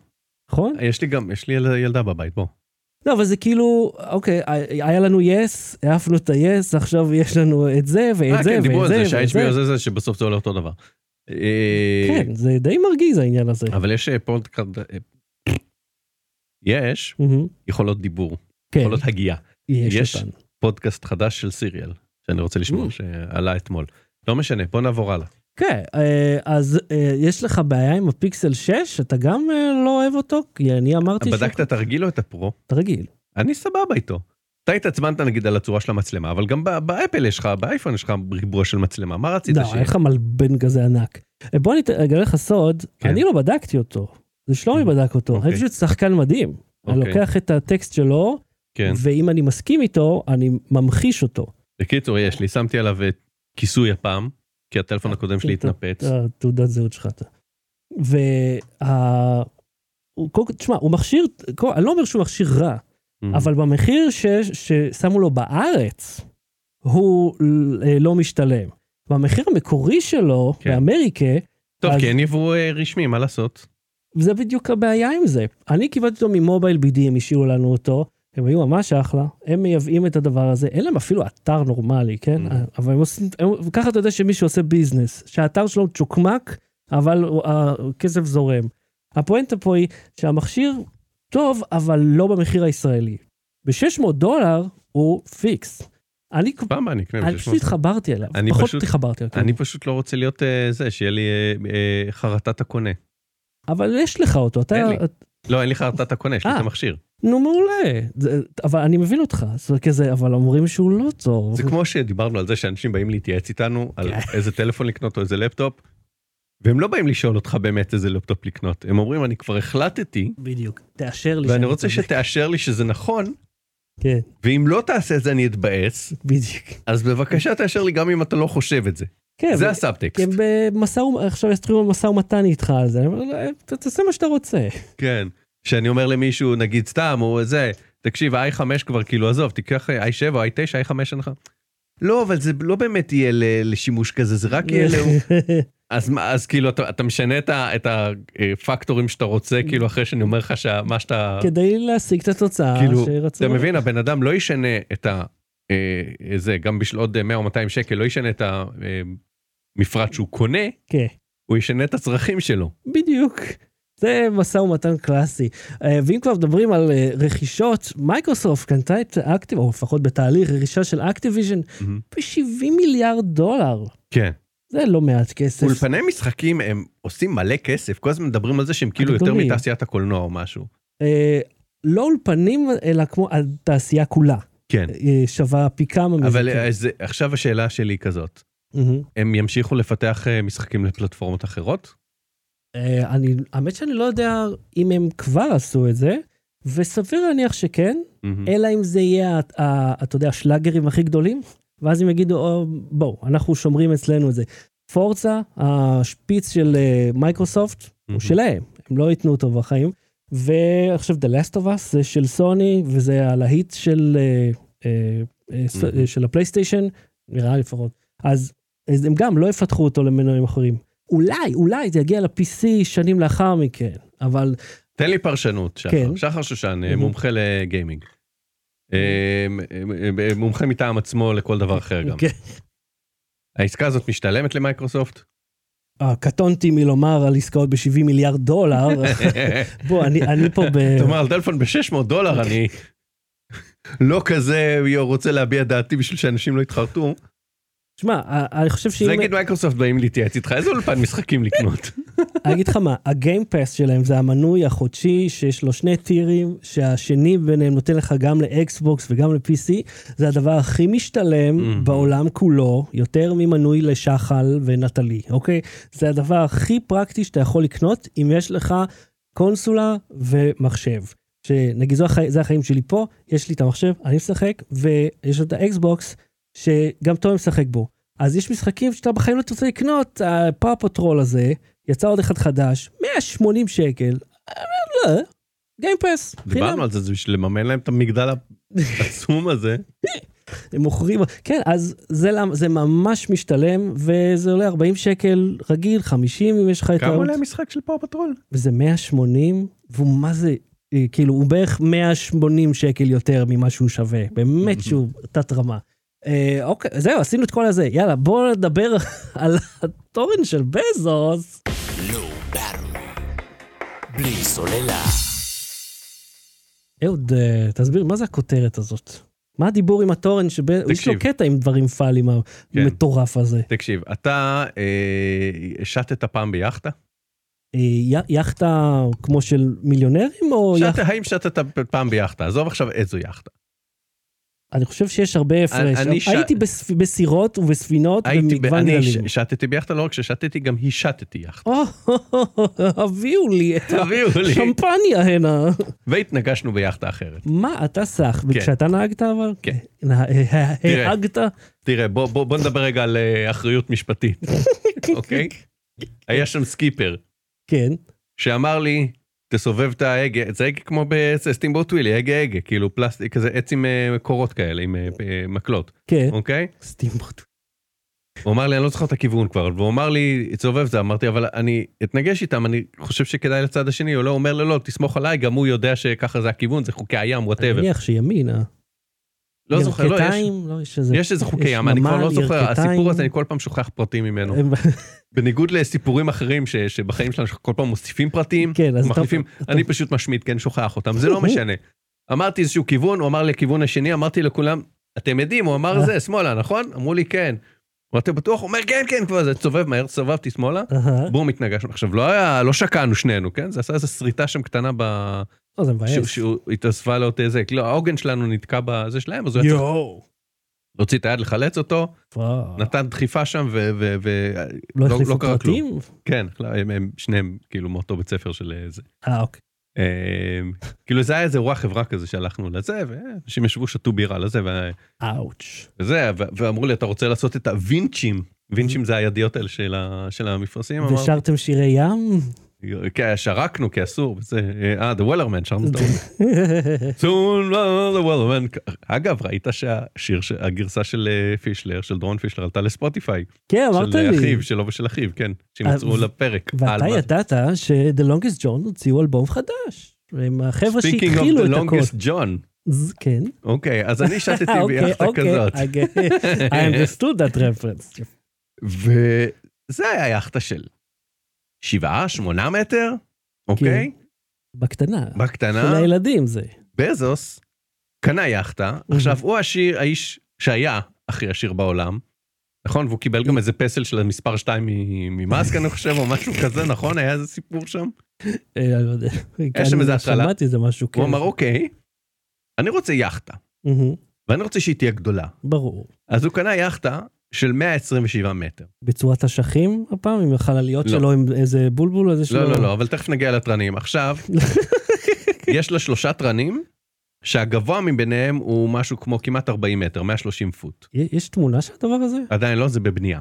[SPEAKER 1] נכון?
[SPEAKER 2] יש לי גם, יש לי יל- ילדה בבית, בוא.
[SPEAKER 1] לא, אבל זה כאילו, אוקיי, היה לנו יס, העפנו את היס, עכשיו יש לנו את זה ואת
[SPEAKER 2] אה,
[SPEAKER 1] זה
[SPEAKER 2] כן, דיברו
[SPEAKER 1] ואת
[SPEAKER 2] על
[SPEAKER 1] זה
[SPEAKER 2] זה
[SPEAKER 1] ואת
[SPEAKER 2] שה-HBO זה זה שבסוף זה עולה אותו דבר. אה,
[SPEAKER 1] כן, זה די מרגיז העניין הזה.
[SPEAKER 2] אבל יש אה, פודקאסט, אה, יש
[SPEAKER 1] מהמם.
[SPEAKER 2] יכולות דיבור.
[SPEAKER 1] כן,
[SPEAKER 2] יכולות הגייה.
[SPEAKER 1] יש
[SPEAKER 2] יש.
[SPEAKER 1] אותן.
[SPEAKER 2] פודקאסט חדש של סיריאל, שאני רוצה לשמוע,
[SPEAKER 1] Mm.
[SPEAKER 2] שעלה אתמול. לא משנה, בוא נעבור הלאה.
[SPEAKER 1] כן, אה, אז אה, יש לך בעיה עם הפיקסל 6? אתה גם אה, לא אוהב אותו? כי אני אמרתי
[SPEAKER 2] בדקת את הרגיל או את הפרו?
[SPEAKER 1] אתה רגיל.
[SPEAKER 2] אני סבבה איתו. אתה התעצבנת נגיד על הצורה של המצלמה, אבל גם ב- באפל יש לך, באייפון יש לך ריבוע של מצלמה, מה רצית
[SPEAKER 1] לא,
[SPEAKER 2] שיהיה?
[SPEAKER 1] היה לך מלבן כזה ענק. אה, בוא אני את- אגלה לך סוד,
[SPEAKER 2] כן.
[SPEAKER 1] אני לא בדקתי אותו. זה שלומי
[SPEAKER 2] אוקיי.
[SPEAKER 1] בדק אותו. אני פשוט שחקן מדהים. אני
[SPEAKER 2] אוקיי.
[SPEAKER 1] לוקח את הטקסט שלו,
[SPEAKER 2] כן.
[SPEAKER 1] ואם אני מסכים איתו, אני ממחיש אותו.
[SPEAKER 2] בקיצור, יש לי, שמתי עליו אה, כיסוי הפעם, כי הטלפון
[SPEAKER 1] אה,
[SPEAKER 2] הקודם שלי
[SPEAKER 1] אתה-
[SPEAKER 2] התנפץ.
[SPEAKER 1] התעודת זהות שלך. אתה. וה... הוא- קודם כל- תשמע, הוא מכשיר, קודם- אני לא אומר שהוא מכשיר רע,
[SPEAKER 2] Mhm.
[SPEAKER 1] אבל במחיר ש- ששמו לו בארץ, הוא אה, לא משתלם. במחיר המקורי שלו,
[SPEAKER 2] כן.
[SPEAKER 1] באמריקה,
[SPEAKER 2] טוב,
[SPEAKER 1] אז-
[SPEAKER 2] כי אין יבוא אה, רשמי, מה לעשות?
[SPEAKER 1] זה בדיוק הבעיה עם זה. אני קיבלתי אותו ממובייל בידי, הם השאירו לנו אותו, הם היו ממש אחלה, הם מייבאים את הדבר הזה, אין להם אפילו אתר נורמלי, כן?
[SPEAKER 2] Mm.
[SPEAKER 1] אבל הם עושים, הם, ככה אתה יודע שמישהו עושה ביזנס, שהאתר שלו הוא צ'וקמק, אבל הוא- הכסף זורם. הפואנטה פה היא שהמכשיר טוב, אבל לא במחיר הישראלי. ב-600 דולר הוא פיקס. אני,
[SPEAKER 2] פעם אני אקנה
[SPEAKER 1] אני
[SPEAKER 2] ב-
[SPEAKER 1] פשוט
[SPEAKER 2] 600.
[SPEAKER 1] התחברתי אליו,
[SPEAKER 2] אני
[SPEAKER 1] פחות
[SPEAKER 2] פשוט-
[SPEAKER 1] התחברתי אליו.
[SPEAKER 2] אני פשוט לא רוצה להיות אה, זה, שיהיה לי אה, אה, חרטת הקונה.
[SPEAKER 1] אבל יש לך אותו, אתה,
[SPEAKER 2] אין לי. לא, אין לי חרטת הקונה, יש לי
[SPEAKER 1] אה.
[SPEAKER 2] את המכשיר.
[SPEAKER 1] נו מעולה, זה, אבל אני מבין אותך, זה כזה, אבל אומרים שהוא לא טוב.
[SPEAKER 2] זה כמו שדיברנו על זה שאנשים באים להתייעץ איתנו, על
[SPEAKER 1] כן.
[SPEAKER 2] איזה טלפון לקנות או איזה לפטופ, והם לא באים לשאול אותך באמת איזה לפטופ לקנות. הם אומרים, אני כבר החלטתי,
[SPEAKER 1] בדיוק, תאשר לי.
[SPEAKER 2] ואני
[SPEAKER 1] שאני
[SPEAKER 2] רוצה
[SPEAKER 1] צודק.
[SPEAKER 2] שתאשר לי שזה נכון,
[SPEAKER 1] כן,
[SPEAKER 2] ואם לא תעשה את זה אני אתבאס,
[SPEAKER 1] בדיוק.
[SPEAKER 2] אז בבקשה תאשר לי גם אם אתה לא חושב את זה.
[SPEAKER 1] כן,
[SPEAKER 2] זה
[SPEAKER 1] ו-
[SPEAKER 2] הסאבטקסט.
[SPEAKER 1] הם במשא ומתן, עכשיו יתחילו במשא ומתן איתך על זה, אני אומר, "לא, ת- תעשה מה שאתה רוצה.
[SPEAKER 2] כן. שאני אומר למישהו, נגיד סתם, או זה, תקשיב, i5 כבר כאילו, עזוב, תיקח אה, i7 או i9, i5 אין לך. לא, אבל זה לא באמת יהיה ל- לשימוש כזה, זה רק יהיה... ל- אז, מה- אז כאילו, אתה, אתה משנה את ה- את הפקטורים שאתה רוצה, כאילו, אחרי שאני אומר לך שה- מה שאתה...
[SPEAKER 1] כדי להשיג את התוצאה
[SPEAKER 2] כאילו,
[SPEAKER 1] שרצו.
[SPEAKER 2] אתה מבין, הבן אדם לא ישנה את ה... אה, זה, גם בשביל עוד אה, 100 או 200 שקל, לא ישנה את המפרט שהוא קונה,
[SPEAKER 1] כן,
[SPEAKER 2] הוא ישנה את הצרכים שלו.
[SPEAKER 1] בדיוק. זה משא ומתן קלאסי. אה, ואם כבר מדברים על אה, רכישות, מייקרוסופט קנתה את אקטיב, או לפחות בתהליך רכישה של אקטיביז'ן, ב-70 מיליארד דולר.
[SPEAKER 2] כן.
[SPEAKER 1] זה לא מעט כסף.
[SPEAKER 2] אולפני משחקים הם עושים מלא כסף, כל הזמן מדברים על זה שהם כאילו יותר
[SPEAKER 1] הגדולים.
[SPEAKER 2] מתעשיית הקולנוע או משהו.
[SPEAKER 1] אה, לא אולפנים, אלא כמו התעשייה כולה.
[SPEAKER 2] כן.
[SPEAKER 1] אה, שווה פי כמה מזה.
[SPEAKER 2] אבל
[SPEAKER 1] כן.
[SPEAKER 2] אה, זה- עכשיו השאלה שלי היא כזאת,
[SPEAKER 1] מהמם.
[SPEAKER 2] הם ימשיכו לפתח אה, משחקים לפלטפורמות אחרות?
[SPEAKER 1] אה, אני, האמת שאני לא יודע אם הם כבר עשו את זה, וסביר להניח שכן,
[SPEAKER 2] Mm-hmm.
[SPEAKER 1] אלא אם זה יהיה, ה- ה- אתה יודע, השלאגרים הכי גדולים, ואז הם יגידו, "או, בואו, אנחנו שומרים אצלנו את זה. פורצה, השפיץ של אה, מייקרוסופט, הוא שלהם, הם לא ייתנו אותו בחיים. ועכשיו The Last of Us זה של סוני, וזה הלהיט של, אה, אה, אה, ס-
[SPEAKER 2] Mhm.
[SPEAKER 1] אה, של הפלייסטיישן, נראה לי לפחות. אז, אז הם גם לא יפתחו אותו למנועים אחרים. אולי, אולי זה יגיע ל-PC שנים לאחר מכן, אבל
[SPEAKER 2] תן לי פרשנות, שחר.
[SPEAKER 1] כן.
[SPEAKER 2] שחר שושן, אה,
[SPEAKER 1] Mhm.
[SPEAKER 2] מומחה לגיימינג. אה, אה, אה, מומחה מטעם עצמו לכל דבר אחר גם.
[SPEAKER 1] כן.
[SPEAKER 2] העסקה הזאת משתלמת למייקרוסופט?
[SPEAKER 1] אה, קטונתי מלומר על עסקאות ב-70 מיליארד דולר. בוא, אני, אני פה ב... אוקיי.
[SPEAKER 2] אתה אומר על טלפון ב-600 דולר, אני לא כזה רוצה להביע דעתי בשביל שאנשים לא יתחרטו.
[SPEAKER 1] שמע, אה, אני חושב שאם...
[SPEAKER 2] זה נגיד מייקרוסופט באים להתייעץ איתך, איזה אולפן משחקים לקנות?
[SPEAKER 1] אני אגיד לך מה, הגיימפס שלהם זה המנוי החודשי שיש לו שני טירים, שהשני ביניהם נותן לך גם לאקסבוקס וגם ל-PC, זה הדבר הכי משתלם
[SPEAKER 2] Mhm.
[SPEAKER 1] בעולם כולו, יותר ממנוי לשחל ונטלי, אוקיי? זה הדבר הכי פרקטי שאתה יכול לקנות אם יש לך קונסולה ומחשב. שנגיד זו החי... זה החיים שלי פה, יש לי את המחשב, אני משחק, ויש את האקסבוקס, שגם תומר משחק בו. אז יש משחקים שאתה בחיים לא תרצה לקנות, הפאפוטרול הזה, יצא עוד אחד חדש, 180 שקל, אה, לא, גיימפס, חינם.
[SPEAKER 2] דיברנו על זה, זה בשביל לממן להם את המגדל העצום הזה.
[SPEAKER 1] הם מוכרים, כן, אז זה, למ- זה ממש משתלם, וזה עולה 40 שקל רגיל, 50 אם יש לך את
[SPEAKER 2] כמה
[SPEAKER 1] העוד,
[SPEAKER 2] עולה המשחק של פאו פטרול?
[SPEAKER 1] וזה 180, והוא מה זה, אה, כאילו, הוא בערך 180 שקל יותר ממה שהוא שווה, באמת שהוא תת רמה. אה, אוקיי, זהו, עשינו את כל הזה, יאללה, בואו נדבר על התורן של בזוס.
[SPEAKER 3] Low Battery. בלי סוללה.
[SPEAKER 1] אהוד, אה, תסביר, מה זה הכותרת הזאת? מה הדיבור עם התורן שבין... יש לו
[SPEAKER 2] תקשיב.
[SPEAKER 1] קטע עם דברים פאליים המטורף הזה.
[SPEAKER 2] תקשיב, אתה אה, שטת פעם ביאכטה?
[SPEAKER 1] אה, י- יאכטה כמו של מיליונרים או
[SPEAKER 2] שטת-
[SPEAKER 1] יאכטה?
[SPEAKER 2] האם שטת פעם ביאכטה? עזוב עכשיו איזו יאכטה.
[SPEAKER 1] אני חושב שיש הרבה הפרש.
[SPEAKER 2] אני ש-
[SPEAKER 1] הייתי בספ- בסירות ובספינות
[SPEAKER 2] הייתי, ב-
[SPEAKER 1] אוקיי, במגוון
[SPEAKER 2] אני ש-
[SPEAKER 1] גללים.
[SPEAKER 2] שטתי ביאכטה, לא רק ששטתי, גם השטתי יאכטה.
[SPEAKER 1] או, הביאו לי את
[SPEAKER 2] תביאו לי.
[SPEAKER 1] השמפניה הנה.
[SPEAKER 2] והתנגשנו ביאכטה אחרת.
[SPEAKER 1] מה, אתה סח, וכשאתה נהגת אבל?
[SPEAKER 2] כן.
[SPEAKER 1] נה- הנהגת?
[SPEAKER 2] תראה, בוא, בוא, בוא נדבר רגע על אה, אחריות משפטית, אוקיי? היה שם סקיפר
[SPEAKER 1] כן.
[SPEAKER 2] שאמר לי, תסובב את ההגה, זה הגה כמו בסטימבוט ווילי, הגה הגה, כאילו פלסטיק, כזה עץ עם אה, קורות כאלה, עם אה, אה, מקלות,
[SPEAKER 1] כן.
[SPEAKER 2] אוקיי?
[SPEAKER 1] סטימבוט.
[SPEAKER 2] הוא אמר לי, אני לא זוכר את הכיוון כבר, והוא אמר לי, תסובב זה, אמרתי, אבל אני אתנגש איתם, אני חושב שכדאי לצד השני, הוא לא אומר לו, לא, תסמוך עליי, גם הוא יודע שככה זה הכיוון, זה חוקי הים,
[SPEAKER 1] אני
[SPEAKER 2] וואטאבר.
[SPEAKER 1] מניח שימינה.
[SPEAKER 2] לא זוכר, לא, יש,
[SPEAKER 1] ירכתיים? לא, יש איזה...
[SPEAKER 2] יש איזה חוקי
[SPEAKER 1] יש
[SPEAKER 2] ים, אני כבר
[SPEAKER 1] נמל,
[SPEAKER 2] לא זוכר,
[SPEAKER 1] ירכתיים. אה,
[SPEAKER 2] הסיפור הזה, אני לא כל פעם שוכח פרטים ממנו.
[SPEAKER 1] הם-
[SPEAKER 2] בניגוד לסיפורים אחרים ש, שבחיים שלנו שכל פעם מוסיפים פרטים,
[SPEAKER 1] כן, אז אתה-
[SPEAKER 2] מחליפים,
[SPEAKER 1] אתה-
[SPEAKER 2] אני פשוט משמיט, כן, שוכח אותם, זה לא משנה. אמרתי איזשהו כיוון, הוא אמר לי הכיוון השני, אמרתי לכולם, אתם יודעים, הוא אמר זה, שמאלה, נכון? אמרו לי כן. ואתה בטוח? הוא אומר כן, כן, כבר זה, תסובב מהר, סובבתי שמאלה,
[SPEAKER 1] אהה.
[SPEAKER 2] בום, התנגשנו. עכשיו, לא היה, לא שקענו שנינו, כן? זה עשה איזו שריטה שם קטנה ב...
[SPEAKER 1] לא, זה
[SPEAKER 2] ש-
[SPEAKER 1] מבאס.
[SPEAKER 2] שהוא התאספה לעוד איזה, לא, העוגן שלנו נתקע בזה שלהם, אז הוא היה צריך
[SPEAKER 1] יואו. אה.
[SPEAKER 2] להוציא את היד, לחלץ אותו,
[SPEAKER 1] וואו.
[SPEAKER 2] נתן דחיפה שם, ו... ו- ו-
[SPEAKER 1] לא
[SPEAKER 2] לא-
[SPEAKER 1] החליפו
[SPEAKER 2] לא קרה כלום.
[SPEAKER 1] פרטים?
[SPEAKER 2] כן, לא, הם, הם שניהם כאילו מאותו בית ספר של אה, זה.
[SPEAKER 1] אה, אוקיי.
[SPEAKER 2] אמ, כאילו זה היה איזה אירוע חברה כזה שהלכנו לזה, ואנשים ישבו, שתו בירה לזה, ו-
[SPEAKER 1] אאוץ'.
[SPEAKER 2] וזה, ו- ואמרו לי, אתה רוצה לעשות את הווינצ'ים, וינצ'ים זה הידיות האלה של, ה- של המפרשים, כן, אמרתי,
[SPEAKER 1] ושרתם שירי ים?
[SPEAKER 2] כן, שרקנו כי אסור, וזה, אה, The Wellerman, שרנו את ה- Soon will the Wellerman. אגב, ראית שהשיר, ש- הגרסה של אה, פישלר, של דרון פישלר, עלתה לספוטיפיי,
[SPEAKER 1] כן, אמרת
[SPEAKER 2] של
[SPEAKER 1] לי.
[SPEAKER 2] אה, אחיו, שלו ושל אחיו, כן, שהם
[SPEAKER 1] אה,
[SPEAKER 2] יצאו
[SPEAKER 1] ו-
[SPEAKER 2] לפרק. על
[SPEAKER 1] ואתה
[SPEAKER 2] מה-
[SPEAKER 1] ידעת ש-The Longest John הוציאו אלבום חדש. הם החבר'ה
[SPEAKER 2] Speaking
[SPEAKER 1] שהתחילו
[SPEAKER 2] of
[SPEAKER 1] את
[SPEAKER 2] the
[SPEAKER 1] הכול.
[SPEAKER 2] longest John.
[SPEAKER 1] ז- כן. אה, אוקיי,
[SPEAKER 2] אוקיי, אז אני שתתי ביאכטה כזאת.
[SPEAKER 1] I get- I understood that reference.
[SPEAKER 2] וזה היה יאכטה של שבעה, שמונה מטר, אוקיי?
[SPEAKER 1] בקטנה.
[SPEAKER 2] בקטנה,
[SPEAKER 1] של הילדים זה.
[SPEAKER 2] בזוס קנה יאכטה, עכשיו הוא השיר, האיש שהיה הכי עשיר בעולם, נכון? והוא קיבל גם איזה פסל של המספר 2 ממאסק, אני חושב, או משהו כזה, נכון? היה איזה סיפור שם?
[SPEAKER 1] אה, אני לא יודע.
[SPEAKER 2] יש שם
[SPEAKER 1] אני
[SPEAKER 2] איזה הטרלה.
[SPEAKER 1] שמעתי איזה משהו.
[SPEAKER 2] הוא
[SPEAKER 1] כן.
[SPEAKER 2] אמר, אוקיי, אני רוצה יאכטה,
[SPEAKER 1] מהמם,
[SPEAKER 2] ואני רוצה שהיא תהיה גדולה.
[SPEAKER 1] ברור.
[SPEAKER 2] אז הוא קנה יאכטה של 127 מטר.
[SPEAKER 1] בצורת אשכים הפעם, עם החלליות
[SPEAKER 2] לא.
[SPEAKER 1] שלו, עם איזה בולבול הזה שלו.
[SPEAKER 2] לא, לא, לא, אבל תכף נגיע לתרנים. עכשיו, יש לה שלושה תרנים, שהגבוה מביניהם הוא משהו כמו כמעט 40 מטר, 130 פוט.
[SPEAKER 1] י- יש תמונה של הדבר הזה?
[SPEAKER 2] עדיין לא, זה בבנייה.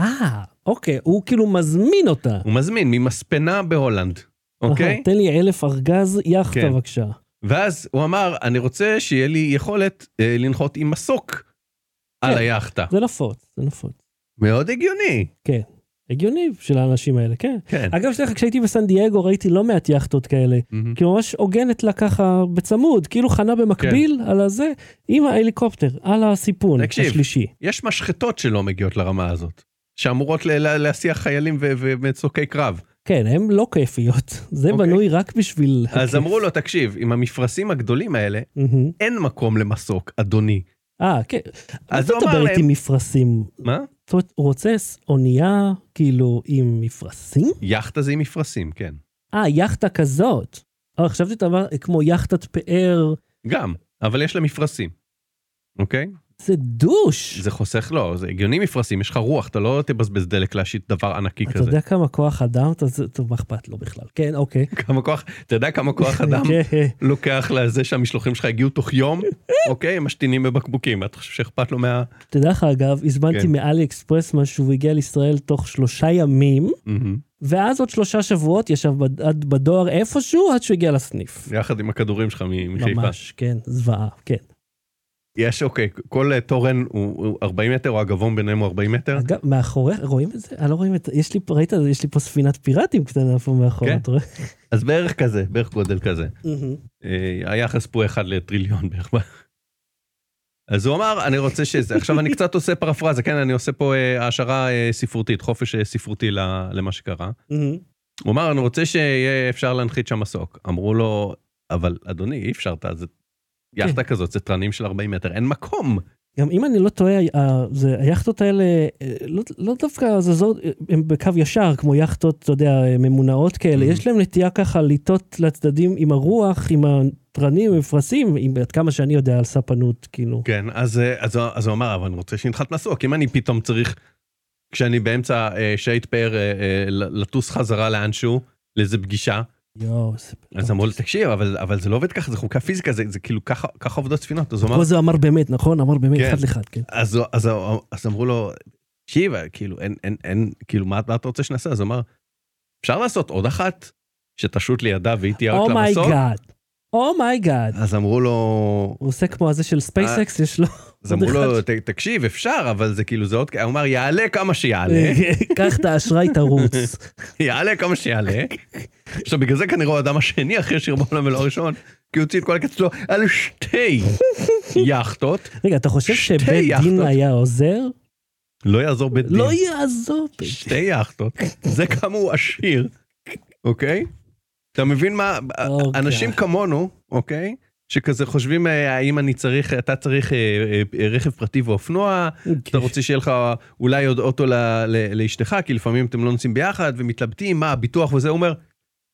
[SPEAKER 1] אה, אוקיי, הוא כאילו מזמין אותה.
[SPEAKER 2] הוא מזמין ממספנה בהולנד, אוקיי?
[SPEAKER 1] אהה, תן לי אלף ארגז יאכטה
[SPEAKER 2] כן.
[SPEAKER 1] בבקשה.
[SPEAKER 2] ואז הוא אמר, אני רוצה שיהיה לי יכולת אה, לנחות עם מסוק על
[SPEAKER 1] כן.
[SPEAKER 2] היאכטה.
[SPEAKER 1] זה נפוץ, זה נפוץ.
[SPEAKER 2] מאוד הגיוני.
[SPEAKER 1] הגיוני של האנשים האלה, כן.
[SPEAKER 2] כן.
[SPEAKER 1] אגב, שתדע לך, כשהייתי בסן דייגו ראיתי לא מעט יאכטות כאלה.
[SPEAKER 2] מהמם.
[SPEAKER 1] כי ממש עוגנת לה ככה בצמוד, כאילו חנה במקביל על הזה, עם ההליקופטר, על הסיפון
[SPEAKER 2] כן. תקשיב.
[SPEAKER 1] השלישי.
[SPEAKER 2] יש משחטות שלא מגיעות לרמה הזאת, שאמורות ל- ל- להסיע חיילים ו- ו- ומצוקי קרב.
[SPEAKER 1] כן, הן לא כיפיות, זה
[SPEAKER 2] אוקיי.
[SPEAKER 1] בנוי רק בשביל...
[SPEAKER 2] אז
[SPEAKER 1] הכיף.
[SPEAKER 2] אמרו לו, תקשיב, עם המפרשים הגדולים האלה,
[SPEAKER 1] מהמם.
[SPEAKER 2] אין מקום למסוק, אדוני.
[SPEAKER 1] אה, כן.
[SPEAKER 2] אז
[SPEAKER 1] אז
[SPEAKER 2] הוא
[SPEAKER 1] הוא
[SPEAKER 2] אמר
[SPEAKER 1] מדבר איתי
[SPEAKER 2] להם,
[SPEAKER 1] מפרשים.
[SPEAKER 2] מה?
[SPEAKER 1] זאת אומרת, הוא רוצה ס- אונייה, כאילו, עם מפרשים?
[SPEAKER 2] יאכטה זה עם מפרשים, כן.
[SPEAKER 1] אה, יאכטה כזאת. אה, חשבתי שאתה אמר, כמו יאכטת פאר,
[SPEAKER 2] גם, אבל יש לה מפרשים, אוקיי?
[SPEAKER 1] זה דוש.
[SPEAKER 2] זה חוסך, לא, זה הגיוני מפרשים, יש לך רוח, אתה לא תבזבז דלק להשית דבר ענקי
[SPEAKER 1] אתה
[SPEAKER 2] כזה.
[SPEAKER 1] יודע כמה כוח אדם, אתה- זה- טוב, מה אכפת לו בכלל? כן, אוקיי.
[SPEAKER 2] כמה כוח, אתה יודע כמה כוח אדם
[SPEAKER 1] כן.
[SPEAKER 2] לוקח לזה שהמשלוחים שלך הגיעו תוך יום, אוקיי? הם משתינים בבקבוקים, אתה חושב שאכפת לו מה...
[SPEAKER 1] תדע לך אגב, הזמנתי
[SPEAKER 2] כן.
[SPEAKER 1] מאלי אקספרס משהו והגיע לישראל תוך שלושה ימים,
[SPEAKER 2] מהמם.
[SPEAKER 1] ואז עוד שלושה שבועות ישב בד- עד בדואר איפשהו עד שהוא הגיע לסניף.
[SPEAKER 2] יחד עם הכדורים שלך מ- מחיפה.
[SPEAKER 1] ממש, כן, זוועה, כן.
[SPEAKER 2] יש, אוקיי, כל אה, תורן הוא הוא 40 מטר, או הגבוה ביניהם הוא 40 מטר.
[SPEAKER 1] אגב, מאחורי, רואים את זה? אני לא רואים את זה, יש לי פה, ראית? יש לי פה ספינת פיראטים קטנה פה מאחורי,
[SPEAKER 2] כן.
[SPEAKER 1] אתה רואה?
[SPEAKER 2] אז בערך כזה, בערך גודל כזה. אה, היחס פה אחד לטריליון בערך. אז הוא אמר, אני רוצה שזה, עכשיו אני קצת עושה פרפרזה, כן, אני עושה פה אה, העשרה אה, ספרותית, חופש אה, ספרותי ל- למה שקרה. הוא אמר, אני רוצה שיהיה אפשר להנחית שם מסוק. אמרו לו, אבל אדוני, אי אפשר, אתה, זה... יאכטה כזאת, זה תרנים של 40 מטר, אין מקום.
[SPEAKER 1] גם אם אני לא טועה, ה- זה- היאכטות האלה אה, לא- לא דווקא זזות, אה, הן בקו ישר, כמו יאכטות, אתה יודע, אה, ממונעות כאלה,
[SPEAKER 2] Mhm.
[SPEAKER 1] יש להן נטייה ככה לטעות לצדדים עם הרוח, עם התרנים, מפרשים, עם- עד כמה שאני יודע על ספנות, כאילו.
[SPEAKER 2] כן, אז, אה, אז, הוא- אז הוא אמר, אבל אני רוצה שינחת מסוק, אם אני פתאום צריך, כשאני באמצע אה, שייט פאר, אה, אה, ל- לטוס חזרה לאנשהו, לאיזה פגישה,
[SPEAKER 1] יואו, זה...
[SPEAKER 2] אז אמרו לי, תקשיב, אבל, אבל זה לא עובד ככה, זה חוקי הפיזיקה, זה, זה כאילו ככה, ככה עובדות ספינות. אז הוא אמר,
[SPEAKER 1] פה זה אמר באמת, נכון? אמר באמת,
[SPEAKER 2] כן.
[SPEAKER 1] אחד לאחד, כן.
[SPEAKER 2] אז, הוא- אז, הוא- אז אמרו לו, תקשיב, כאילו, אין, אין, אין, כאילו, מה, מה אתה רוצה שנעשה? אז הוא אמר, אפשר לעשות עוד אחת, שתשוט לידה והיא תהיה
[SPEAKER 1] Oh
[SPEAKER 2] רק למסוק?
[SPEAKER 1] אומייגאד, אומייגאד.
[SPEAKER 2] אז אמרו לו,
[SPEAKER 1] Oh הוא עושה כמו הזה של
[SPEAKER 2] אה.
[SPEAKER 1] ספייסקס, יש לו...
[SPEAKER 2] אז
[SPEAKER 1] עוד
[SPEAKER 2] אמרו לו,
[SPEAKER 1] אחד.
[SPEAKER 2] "ת- תקשיב, אפשר, אבל זה כאילו, זה עוד, כ-" הוא אמר, יעלה כמה שיעלה,
[SPEAKER 1] קח את האשראי, תרוץ.
[SPEAKER 2] יעלה כמה שיעלה. עכשיו, בגלל זה כנראה הוא האדם השני אחרי שיר בעולם ולא הראשון, כי הוא הוציא את כל הכסף שלו על שתי יאכטות.
[SPEAKER 1] רגע, אתה חושב
[SPEAKER 2] שתי
[SPEAKER 1] שבית דין
[SPEAKER 2] יאכטות.
[SPEAKER 1] היה עוזר?
[SPEAKER 2] לא יעזור בית דין.
[SPEAKER 1] לא יעזור.
[SPEAKER 2] שתי יאכטות, זה כמה הוא עשיר, אוקיי? אתה מבין מה,
[SPEAKER 1] אוקיי.
[SPEAKER 2] אה, אנשים כמונו, אוקיי? שכזה חושבים אה, האם אני צריך, אתה צריך אה, אה, אה, רכב פרטי ואופנוע,
[SPEAKER 1] כן.
[SPEAKER 2] אתה רוצה שיהיה לך אולי עוד אוטו ל- ל- לאשתך, כי לפעמים אתם לא נוסעים ביחד ומתלבטים, מה הביטוח וזה, הוא אומר,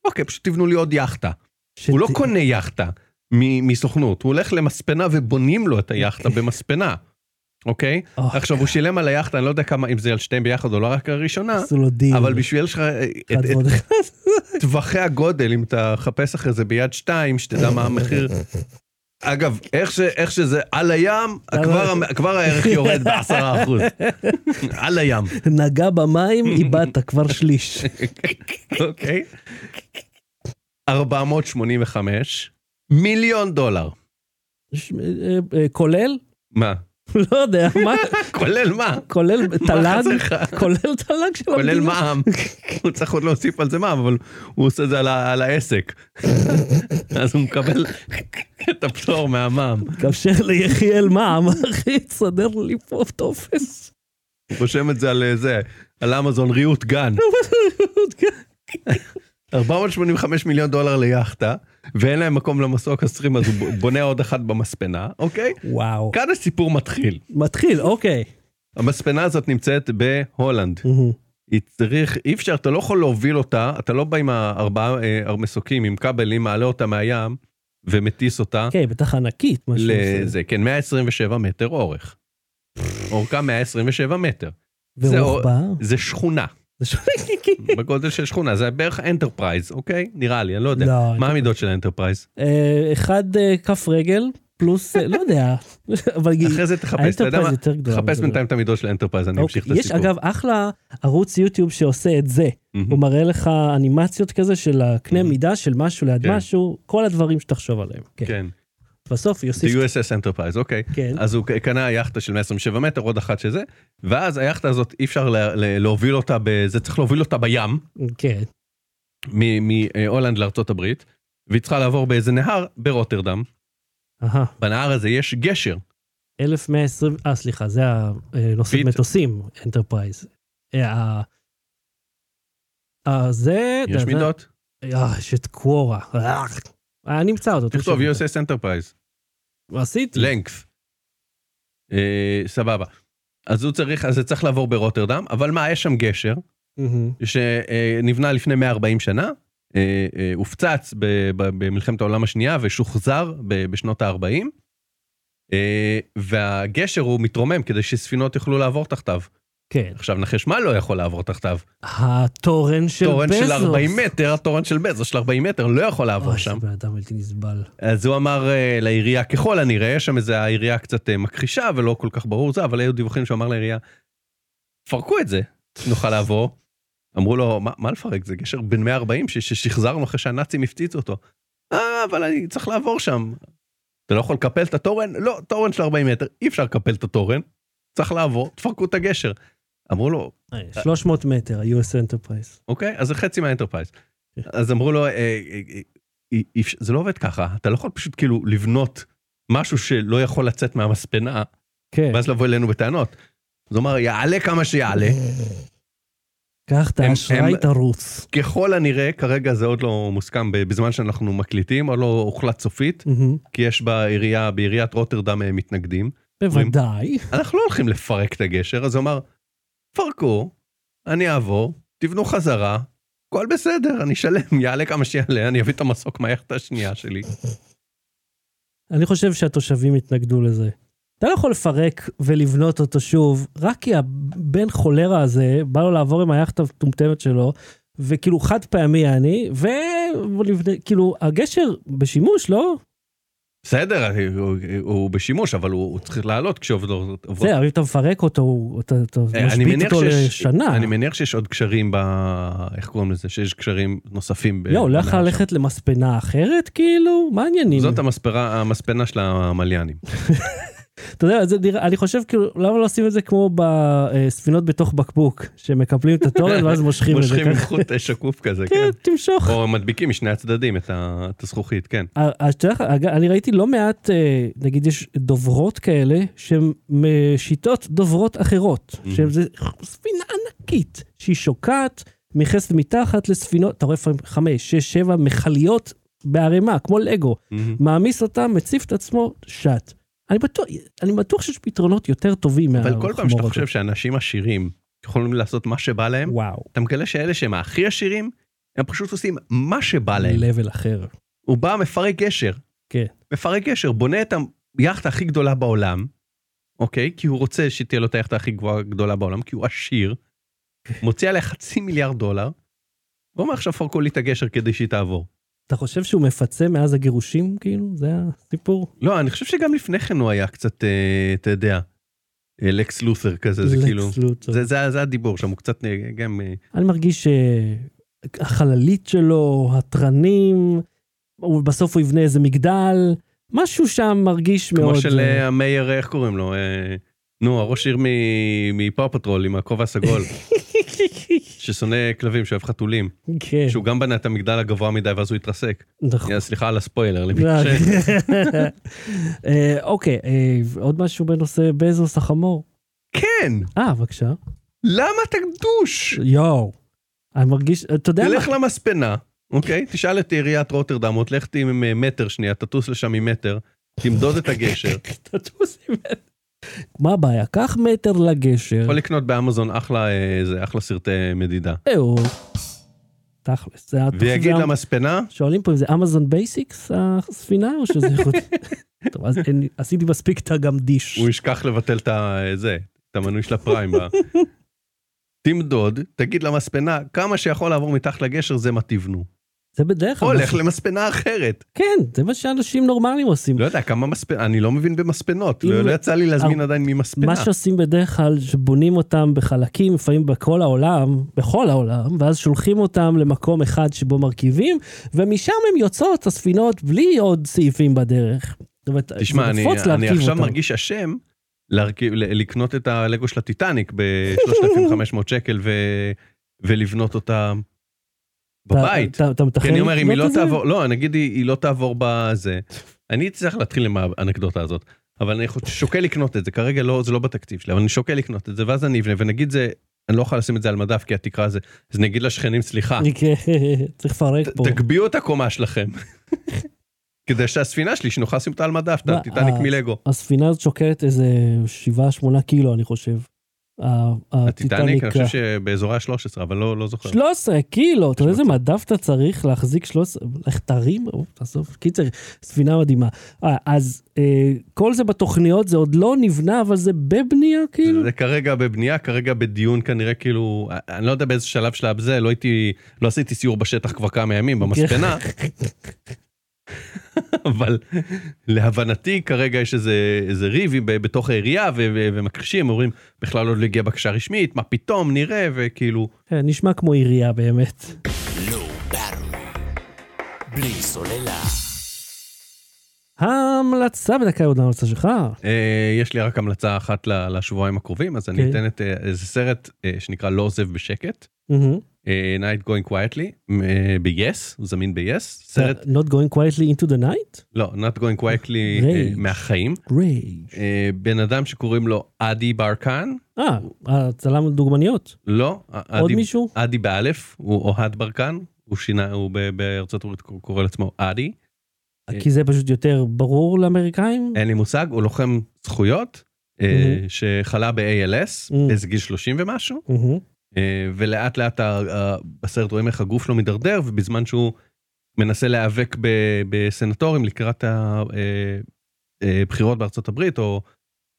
[SPEAKER 2] אוקיי, פשוט תבנו לי עוד יאכטה.
[SPEAKER 1] שת-
[SPEAKER 2] הוא לא קונה יאכטה מ- מסוכנות, הוא הולך למספנה ובונים לו את היאכטה במספנה, אוקיי?
[SPEAKER 1] אה,
[SPEAKER 2] עכשיו, הוא שילם על היאכטה, אני לא יודע כמה, אם זה על שתיהם ביחד או לא רק הראשונה,
[SPEAKER 1] עשו לו דיל.
[SPEAKER 2] אבל בשביל שלך, אה,
[SPEAKER 1] אחד
[SPEAKER 2] את את
[SPEAKER 1] ועוד אחד.
[SPEAKER 2] טווחי הגודל, אם אתה מחפש אחרי זה ביד שתיים, שתדע מה המחיר. אגב, איך, ש, איך שזה על הים, כבר, המ- כבר הערך יורד בעשרה אחוז. על הים,
[SPEAKER 1] נגע במים, איבדת כבר שליש.
[SPEAKER 2] אוקיי? 485 מיליון דולר.
[SPEAKER 1] ש- אה, אה, כולל?
[SPEAKER 2] מה?
[SPEAKER 1] לא יודע, מה?
[SPEAKER 2] כולל מה?
[SPEAKER 1] כולל
[SPEAKER 2] מה
[SPEAKER 1] תל"ג?
[SPEAKER 2] חסר לך?
[SPEAKER 1] כולל תל"ג של המדינה?
[SPEAKER 2] כולל מע"מ. הוא צריך עוד להוסיף על זה מע"מ, אבל הוא עושה את זה על ה- על העסק. אז הוא מקבל את הפטור מהמע"מ.
[SPEAKER 1] תאפשר ליחיאל מע"מ, אחי, תסדר לי פה טופס.
[SPEAKER 2] רושם את זה על אה, זה, על אמזון ריהוט גן. 485 מיליון דולר ליאכטה, ואין להם מקום למסוק הסרים, אז הוא ב- בונה עוד אחת במספנה, אוקיי?
[SPEAKER 1] וואו.
[SPEAKER 2] כאן הסיפור מתחיל.
[SPEAKER 1] מתחיל, אוקיי.
[SPEAKER 2] המספנה הזאת נמצאת בהולנד. היא צריך, אי אפשר, אתה לא יכול להוביל אותה, אתה לא בא עם הארבעה אה, מסוקים, עם כבלים, מעלה אותה מהים ומטיס אותה
[SPEAKER 1] אוקיי, בטח ענקית, משהו. כזה.
[SPEAKER 2] לזה, כן, 127 מטר אורך. אורכה 127 מטר. זה או-
[SPEAKER 1] ורוחבה.
[SPEAKER 2] זה שכונה.
[SPEAKER 1] זה שונה.
[SPEAKER 2] בגודל של שכונה, זה בערך אנטרפרייז, אוקיי? נראה לי, אני לא יודע.
[SPEAKER 1] לא,
[SPEAKER 2] מה המידות של האנטרפרייז?
[SPEAKER 1] אה, אחד אה, כף רגל, פלוס, אה, לא יודע, אבל
[SPEAKER 2] אחרי זה תחפש, אתה יודע
[SPEAKER 1] האנטרפרייז
[SPEAKER 2] מה?
[SPEAKER 1] יותר גדולה.
[SPEAKER 2] תחפש
[SPEAKER 1] זה- לא-
[SPEAKER 2] בינתיים את המידות של האנטרפרייז, אני
[SPEAKER 1] אוקיי,
[SPEAKER 2] אמשיך את הסיפור. Mm-hmm.
[SPEAKER 1] יש אגב אחלה ערוץ יוטיוב שעושה את זה,
[SPEAKER 2] מהמם.
[SPEAKER 1] הוא מראה לך אנימציות כזה של הקנה
[SPEAKER 2] Mhm.
[SPEAKER 1] מידה של משהו ליד
[SPEAKER 2] כן.
[SPEAKER 1] משהו, כל הדברים שתחשוב עליהם. כן.
[SPEAKER 2] כן,
[SPEAKER 1] בסוף
[SPEAKER 2] The
[SPEAKER 1] יוסיף,
[SPEAKER 2] USS Enterprise, אוקיי.
[SPEAKER 1] כן,
[SPEAKER 2] אז הוא קנה יאכטה של 127 מטר, עוד אחת שזה, ואז היאכטה הזאת, אי אפשר לה- לה- להוביל אותה, ב- זה צריך להוביל אותה בים,
[SPEAKER 1] כן,
[SPEAKER 2] מ- מהולנד לארצות הברית, והיא צריכה לעבור באיזה נהר ברוטרדם.
[SPEAKER 1] אהה,
[SPEAKER 2] בנהר הזה יש גשר.
[SPEAKER 1] 1120, אה סליחה, זה הנושא
[SPEAKER 2] פיט.
[SPEAKER 1] מטוסים, אנטרפרייז. אה, ה- אה, זה,
[SPEAKER 2] יש
[SPEAKER 1] זה-
[SPEAKER 2] מידות?
[SPEAKER 1] אה, יש את קוורה, אה, אה, אני אמצא אותו.
[SPEAKER 2] תכתוב
[SPEAKER 1] תקשיב.
[SPEAKER 2] USS Enterprise.
[SPEAKER 1] עשיתי.
[SPEAKER 2] לנגף. אה, סבבה. אז הוא צריך, אז זה צריך לעבור ברוטרדם, אבל מה, יש שם גשר
[SPEAKER 1] מהמם.
[SPEAKER 2] שנבנה לפני 140 שנה, אה, אה, הופצץ ב- ב- במלחמת העולם השנייה ושוחזר ב- בשנות ה-40, והגשר הוא מתרומם כדי שספינות יוכלו לעבור תחתיו.
[SPEAKER 1] כן.
[SPEAKER 2] עכשיו נחש מה לא יכול לעבור תחתיו?
[SPEAKER 1] התורן של
[SPEAKER 2] תורן
[SPEAKER 1] בזוס.
[SPEAKER 2] של 40 מטר, התורן של בזוס של 40 מטר לא יכול לעבור
[SPEAKER 1] אוי,
[SPEAKER 2] שם.
[SPEAKER 1] זה בן אדם בלתי נסבל.
[SPEAKER 2] אז הוא אמר אה, לעירייה, ככל הנראה, יש שם איזה העירייה קצת אה, מכחישה ולא כל כך ברור זה, אבל היו דיווחים שהוא אמר לעירייה, פרקו את זה, נוכל לעבור. אמרו לו, מה, מה לפרק? זה גשר בן 140 ש- ששחזרנו אחרי שהנאצים הפציצו אותו. אה, אבל אני צריך לעבור שם. אתה לא יכול לקפל את התורן? לא, תורן של 40 מטר, אי אפשר לקפל את התורן, צריך לעבור, תפרקו את הגשר. אמרו לו,
[SPEAKER 1] 300 מטר, ה-US Enterprise.
[SPEAKER 2] אוקיי? אז זה חצי מהאנטרפרייז. אז אמרו לו, אה, אה, אה, אי- אי אפשר- זה לא עובד ככה, אתה לא יכול פשוט כאילו לבנות משהו שלא יכול לצאת מהמספנה,
[SPEAKER 1] כן.
[SPEAKER 2] ואז לבוא אלינו בטענות. אז הוא אמר, יעלה כמה שיעלה.
[SPEAKER 1] קח את
[SPEAKER 2] הם-
[SPEAKER 1] האשראי,
[SPEAKER 2] הם-
[SPEAKER 1] תרוץ.
[SPEAKER 2] ככל הנראה, כרגע זה עוד לא מוסכם ב- בזמן שאנחנו מקליטים, עוד לא הוחלט סופית,
[SPEAKER 1] מהמם.
[SPEAKER 2] כי יש בעירייה, בעיריית רוטרדם אה, מתנגדים.
[SPEAKER 1] בוודאי.
[SPEAKER 2] אנחנו לא הולכים לפרק את הגשר, אז הוא אמר, פרקו, אני אעבור, תבנו חזרה, הכל בסדר, אני אשלם, יעלה כמה שיעלה, אני אביא את המסוק מהיכטה השנייה שלי.
[SPEAKER 1] אני חושב שהתושבים התנגדו לזה. אתה לא יכול לפרק ולבנות אותו שוב, רק כי הבן חולרה הזה, בא לו לעבור עם היאכטה המטומטמת שלו, וכאילו חד פעמי אני, וכאילו הגשר בשימוש, לא?
[SPEAKER 2] בסדר, הוא, הוא בשימוש, אבל הוא, הוא צריך לעלות כשעובדות... עוברות-
[SPEAKER 1] זה, אבל אם אתה מפרק אותו, הוא- אתה אתה
[SPEAKER 2] אה, אני
[SPEAKER 1] משבית
[SPEAKER 2] מניח
[SPEAKER 1] אותו
[SPEAKER 2] שיש-
[SPEAKER 1] לשנה.
[SPEAKER 2] אני מניח שיש עוד קשרים ב... איך קוראים לזה? שיש קשרים נוספים. ב-
[SPEAKER 1] לא, הולך
[SPEAKER 2] בנהר
[SPEAKER 1] ללכת למספנה אחרת, כאילו? מה
[SPEAKER 2] שם.
[SPEAKER 1] העניינים?
[SPEAKER 2] זאת המספרה, המספנה של המליאנים.
[SPEAKER 1] אתה יודע, זה נראה, אני חושב, כאילו, למה לא עושים את זה כמו בספינות בתוך בקבוק, שמקפלים את התורן ואז מושכים את זה.
[SPEAKER 2] מושכים עם
[SPEAKER 1] ככה?
[SPEAKER 2] חוט שקוף כזה,
[SPEAKER 1] כן,
[SPEAKER 2] כן.
[SPEAKER 1] תמשוך. אה,
[SPEAKER 2] או מדביקים משני הצדדים את ה- את הזכוכית, כן.
[SPEAKER 1] אז אתה יודע לך, אג- אני ראיתי לא מעט, אה, נגיד יש דוברות כאלה, שהן משיטות דוברות אחרות,
[SPEAKER 2] Mhm.
[SPEAKER 1] שהן זה ספינה ענקית, שהיא שוקעת, נכנסת מתחת לספינות, אתה רואה לפעמים חמש, שש, שבע מכליות בערימה, כמו לגו,
[SPEAKER 2] מהמם.
[SPEAKER 1] מעמיס אותה, מציף את עצמו, שט. אני בטוח, אני בטוח שיש פתרונות יותר טובים מהחמור
[SPEAKER 2] אבל כל פעם שאתה
[SPEAKER 1] הזה.
[SPEAKER 2] חושב שאנשים עשירים יכולים לעשות מה שבא להם,
[SPEAKER 1] וואו,
[SPEAKER 2] אתה מגלה שאלה שהם הכי עשירים, הם פשוט עושים מה שבא להם.
[SPEAKER 1] לבל אחר.
[SPEAKER 2] הוא בא, מפרק גשר.
[SPEAKER 1] כן.
[SPEAKER 2] מפרק גשר, בונה את היאכטה הכי גדולה בעולם, אוקיי? כי הוא רוצה שתהיה לו את היאכטה הכי גבוהה גדולה בעולם, כי הוא עשיר, מוציא עליה חצי מיליארד דולר, ואומר עכשיו פרקו לי את הגשר כדי שהיא תעבור.
[SPEAKER 1] אתה חושב שהוא מפצה מאז הגירושים, כאילו? זה הסיפור?
[SPEAKER 2] לא, אני חושב שגם לפני כן הוא היה קצת, אה, אתה יודע, אה, לקס לותר כזה, זה
[SPEAKER 1] לקס
[SPEAKER 2] כאילו...
[SPEAKER 1] לותר.
[SPEAKER 2] זה, זה, זה הדיבור שם, הוא קצת אה, גם... אה,
[SPEAKER 1] אני מרגיש שהחללית שלו, התרנים, הוא- בסוף הוא יבנה איזה מגדל, משהו שם מרגיש מאוד...
[SPEAKER 2] כמו של
[SPEAKER 1] אה,
[SPEAKER 2] אה, המאייר, איך קוראים לו? אה, נו, הראש עיר מ- מפאו פטרול עם הכובע הסגול, אה, ששונא כלבים, שאוהב חתולים.
[SPEAKER 1] כן,
[SPEAKER 2] שהוא גם בנה את המגדל הגבוה מדי ואז הוא התרסק.
[SPEAKER 1] נכון. לא,
[SPEAKER 2] יא, סליחה על הספוילר, למי
[SPEAKER 1] זה-
[SPEAKER 2] ש...
[SPEAKER 1] אה, אוקיי, אה, עוד משהו בנושא בזוס החמור?
[SPEAKER 2] כן,
[SPEAKER 1] אה, בבקשה.
[SPEAKER 2] למה אתה גדוש?
[SPEAKER 1] יואו. אני מרגיש, אתה יודע
[SPEAKER 2] תלך
[SPEAKER 1] מה?
[SPEAKER 2] למספנה, אוקיי? תשאל את עיריית רוטרדם, עוד לך ת- עם אה, מטר שנייה, תטוס לשם עם מטר, תמדוד את הגשר.
[SPEAKER 1] תטוס עם מטר. מה הבעיה? קח מטר לגשר.
[SPEAKER 2] יכול לקנות באמזון אחלה, אה, זה אחלה סרטי מדידה.
[SPEAKER 1] אהו. אה, תכלס, זה התוכנית.
[SPEAKER 2] ויגיד למספנה,
[SPEAKER 1] שואלים פה אם זה אמזון בייסיקס הספינה או שזה יכול... טוב, אז אין- עשיתי מספיק אתה גם דיש.
[SPEAKER 2] הוא ישכח לבטל את ה- זה, את המנוי של הפריים. ב- תמדוד, תגיד למספנה, כמה שיכול לעבור מתחת לגשר זה מה תבנו.
[SPEAKER 1] זה בדרך
[SPEAKER 2] או
[SPEAKER 1] כלל...
[SPEAKER 2] לך למספנה אחרת.
[SPEAKER 1] כן, זה מה שאנשים נורמליים עושים.
[SPEAKER 2] לא יודע כמה מספנות, אני לא מבין במספנות,
[SPEAKER 1] אם- אה,
[SPEAKER 2] לא לא יצא לי להזמין עדיין ממספנה.
[SPEAKER 1] מה שעושים בדרך כלל, שבונים אותם בחלקים, לפעמים בכל העולם, בכל העולם, ואז שולחים אותם למקום אחד שבו מרכיבים, ומשם הם יוצאות, הספינות, בלי עוד סעיפים בדרך. זאת אומרת,
[SPEAKER 2] תשמע,
[SPEAKER 1] זה
[SPEAKER 2] אני,
[SPEAKER 1] נפוץ
[SPEAKER 2] אני
[SPEAKER 1] להרכיב
[SPEAKER 2] עכשיו
[SPEAKER 1] אותם.
[SPEAKER 2] מרגיש אשם להרכיב, ל- לקנות את הלגו של הטיטניק ב-3,500 שקל ו, ולבנות אותה בבית.
[SPEAKER 1] אתה- אתה- אתה מתכנן
[SPEAKER 2] כי אני אומר, אם
[SPEAKER 1] לקנות
[SPEAKER 2] היא לא
[SPEAKER 1] את זה?
[SPEAKER 2] תעבור, לא, נגיד היא, היא לא תעבור בזה, אני צריך להתחיל עם האנקדוטה הזאת, אבל אני חוש- שוקל לקנות את זה, כרגע לא, זה לא בתקציב שלי, אבל אני שוקל לקנות את זה, ואז אני אבנה, ונגיד זה, אני לא יכול לשים את זה על מדף כי התקרה זה, אז נגיד לשכנים, סליחה,
[SPEAKER 1] כן, צריך לפרק
[SPEAKER 2] ת-
[SPEAKER 1] פה.
[SPEAKER 2] תגביהו את הקומה שלכם. כדי שהספינה שלי, שנוכל לשים אותה על מדף, את
[SPEAKER 1] מה,
[SPEAKER 2] הטיטניק
[SPEAKER 1] אה,
[SPEAKER 2] מלגו.
[SPEAKER 1] הספינה הזאת שוקלת איזה 7-8 קילו, אני חושב. ה-
[SPEAKER 2] הטיטניק, אני חושב
[SPEAKER 1] ה-
[SPEAKER 2] שבאזורי ה-13, אבל לא לא זוכר.
[SPEAKER 1] 13 קילו, אתה יודע איזה מדף אתה צריך להחזיק 13, איך תרים, או, תעזוב, קיצר, ספינה מדהימה. אה, אז אה, כל זה בתוכניות, זה עוד לא נבנה, אבל זה בבנייה כאילו?
[SPEAKER 2] זה כרגע בבנייה, כרגע בדיון כנראה כאילו, אני לא יודע באיזה שלב שלב זה, לא הייתי, לא עשיתי סיור בשטח כבר כמה ימים
[SPEAKER 1] כן.
[SPEAKER 2] במספנה, אבל להבנתי כרגע יש איזה איזה ריב עם- ב- בתוך העירייה ו- ו- ומכחישים, אומרים, בכלל עוד לא הגיעה בקשה רשמית, מה פתאום, נראה, וכאילו,
[SPEAKER 1] כן, נשמע כמו עירייה באמת.
[SPEAKER 3] Low Battery. בלי סוללה.
[SPEAKER 1] ה... ההמלצה בדקה עוד ההמלצה שלך?
[SPEAKER 2] אה, יש לי רק המלצה אחת ל- לשבועיים הקרובים, אז אני
[SPEAKER 1] אוקיי.
[SPEAKER 2] אתן את אה, איזה סרט אה, שנקרא לא עוזב בשקט,
[SPEAKER 1] מהמם.
[SPEAKER 2] אה, Night Going Quietly, אה, ב-yes, הוא זמין ב-yes, סרט,
[SPEAKER 1] Not going quietly into the night?
[SPEAKER 2] לא, Not Going Quietly אה,
[SPEAKER 1] Rage.
[SPEAKER 2] מהחיים,
[SPEAKER 1] רייג'.
[SPEAKER 2] אה, בן אדם שקוראים לו עדי ברקן,
[SPEAKER 1] אה, הצלם דוגמניות.
[SPEAKER 2] לא,
[SPEAKER 1] עוד
[SPEAKER 2] עדי-
[SPEAKER 1] מישהו?
[SPEAKER 2] עדי באלף, הוא אוהד ברקן, הוא שינה, הוא ב- בארצות הברית קורא לעצמו עדי, אה,
[SPEAKER 1] כי זה פשוט יותר ברור לאמריקאים?
[SPEAKER 2] אין לי מושג, הוא לוחם זכויות, אה,
[SPEAKER 1] מהמם.
[SPEAKER 2] שחלה ב-ALS,
[SPEAKER 1] מהמם.
[SPEAKER 2] באיזה גיל 30 ומשהו.
[SPEAKER 1] מהמם.
[SPEAKER 2] אה, ולאט לאט ה- ה- בסרט רואים איך הגוף שלו מידרדר ובזמן שהוא מנסה להיאבק ב- בסנטורים לקראת הבחירות בארצות הברית או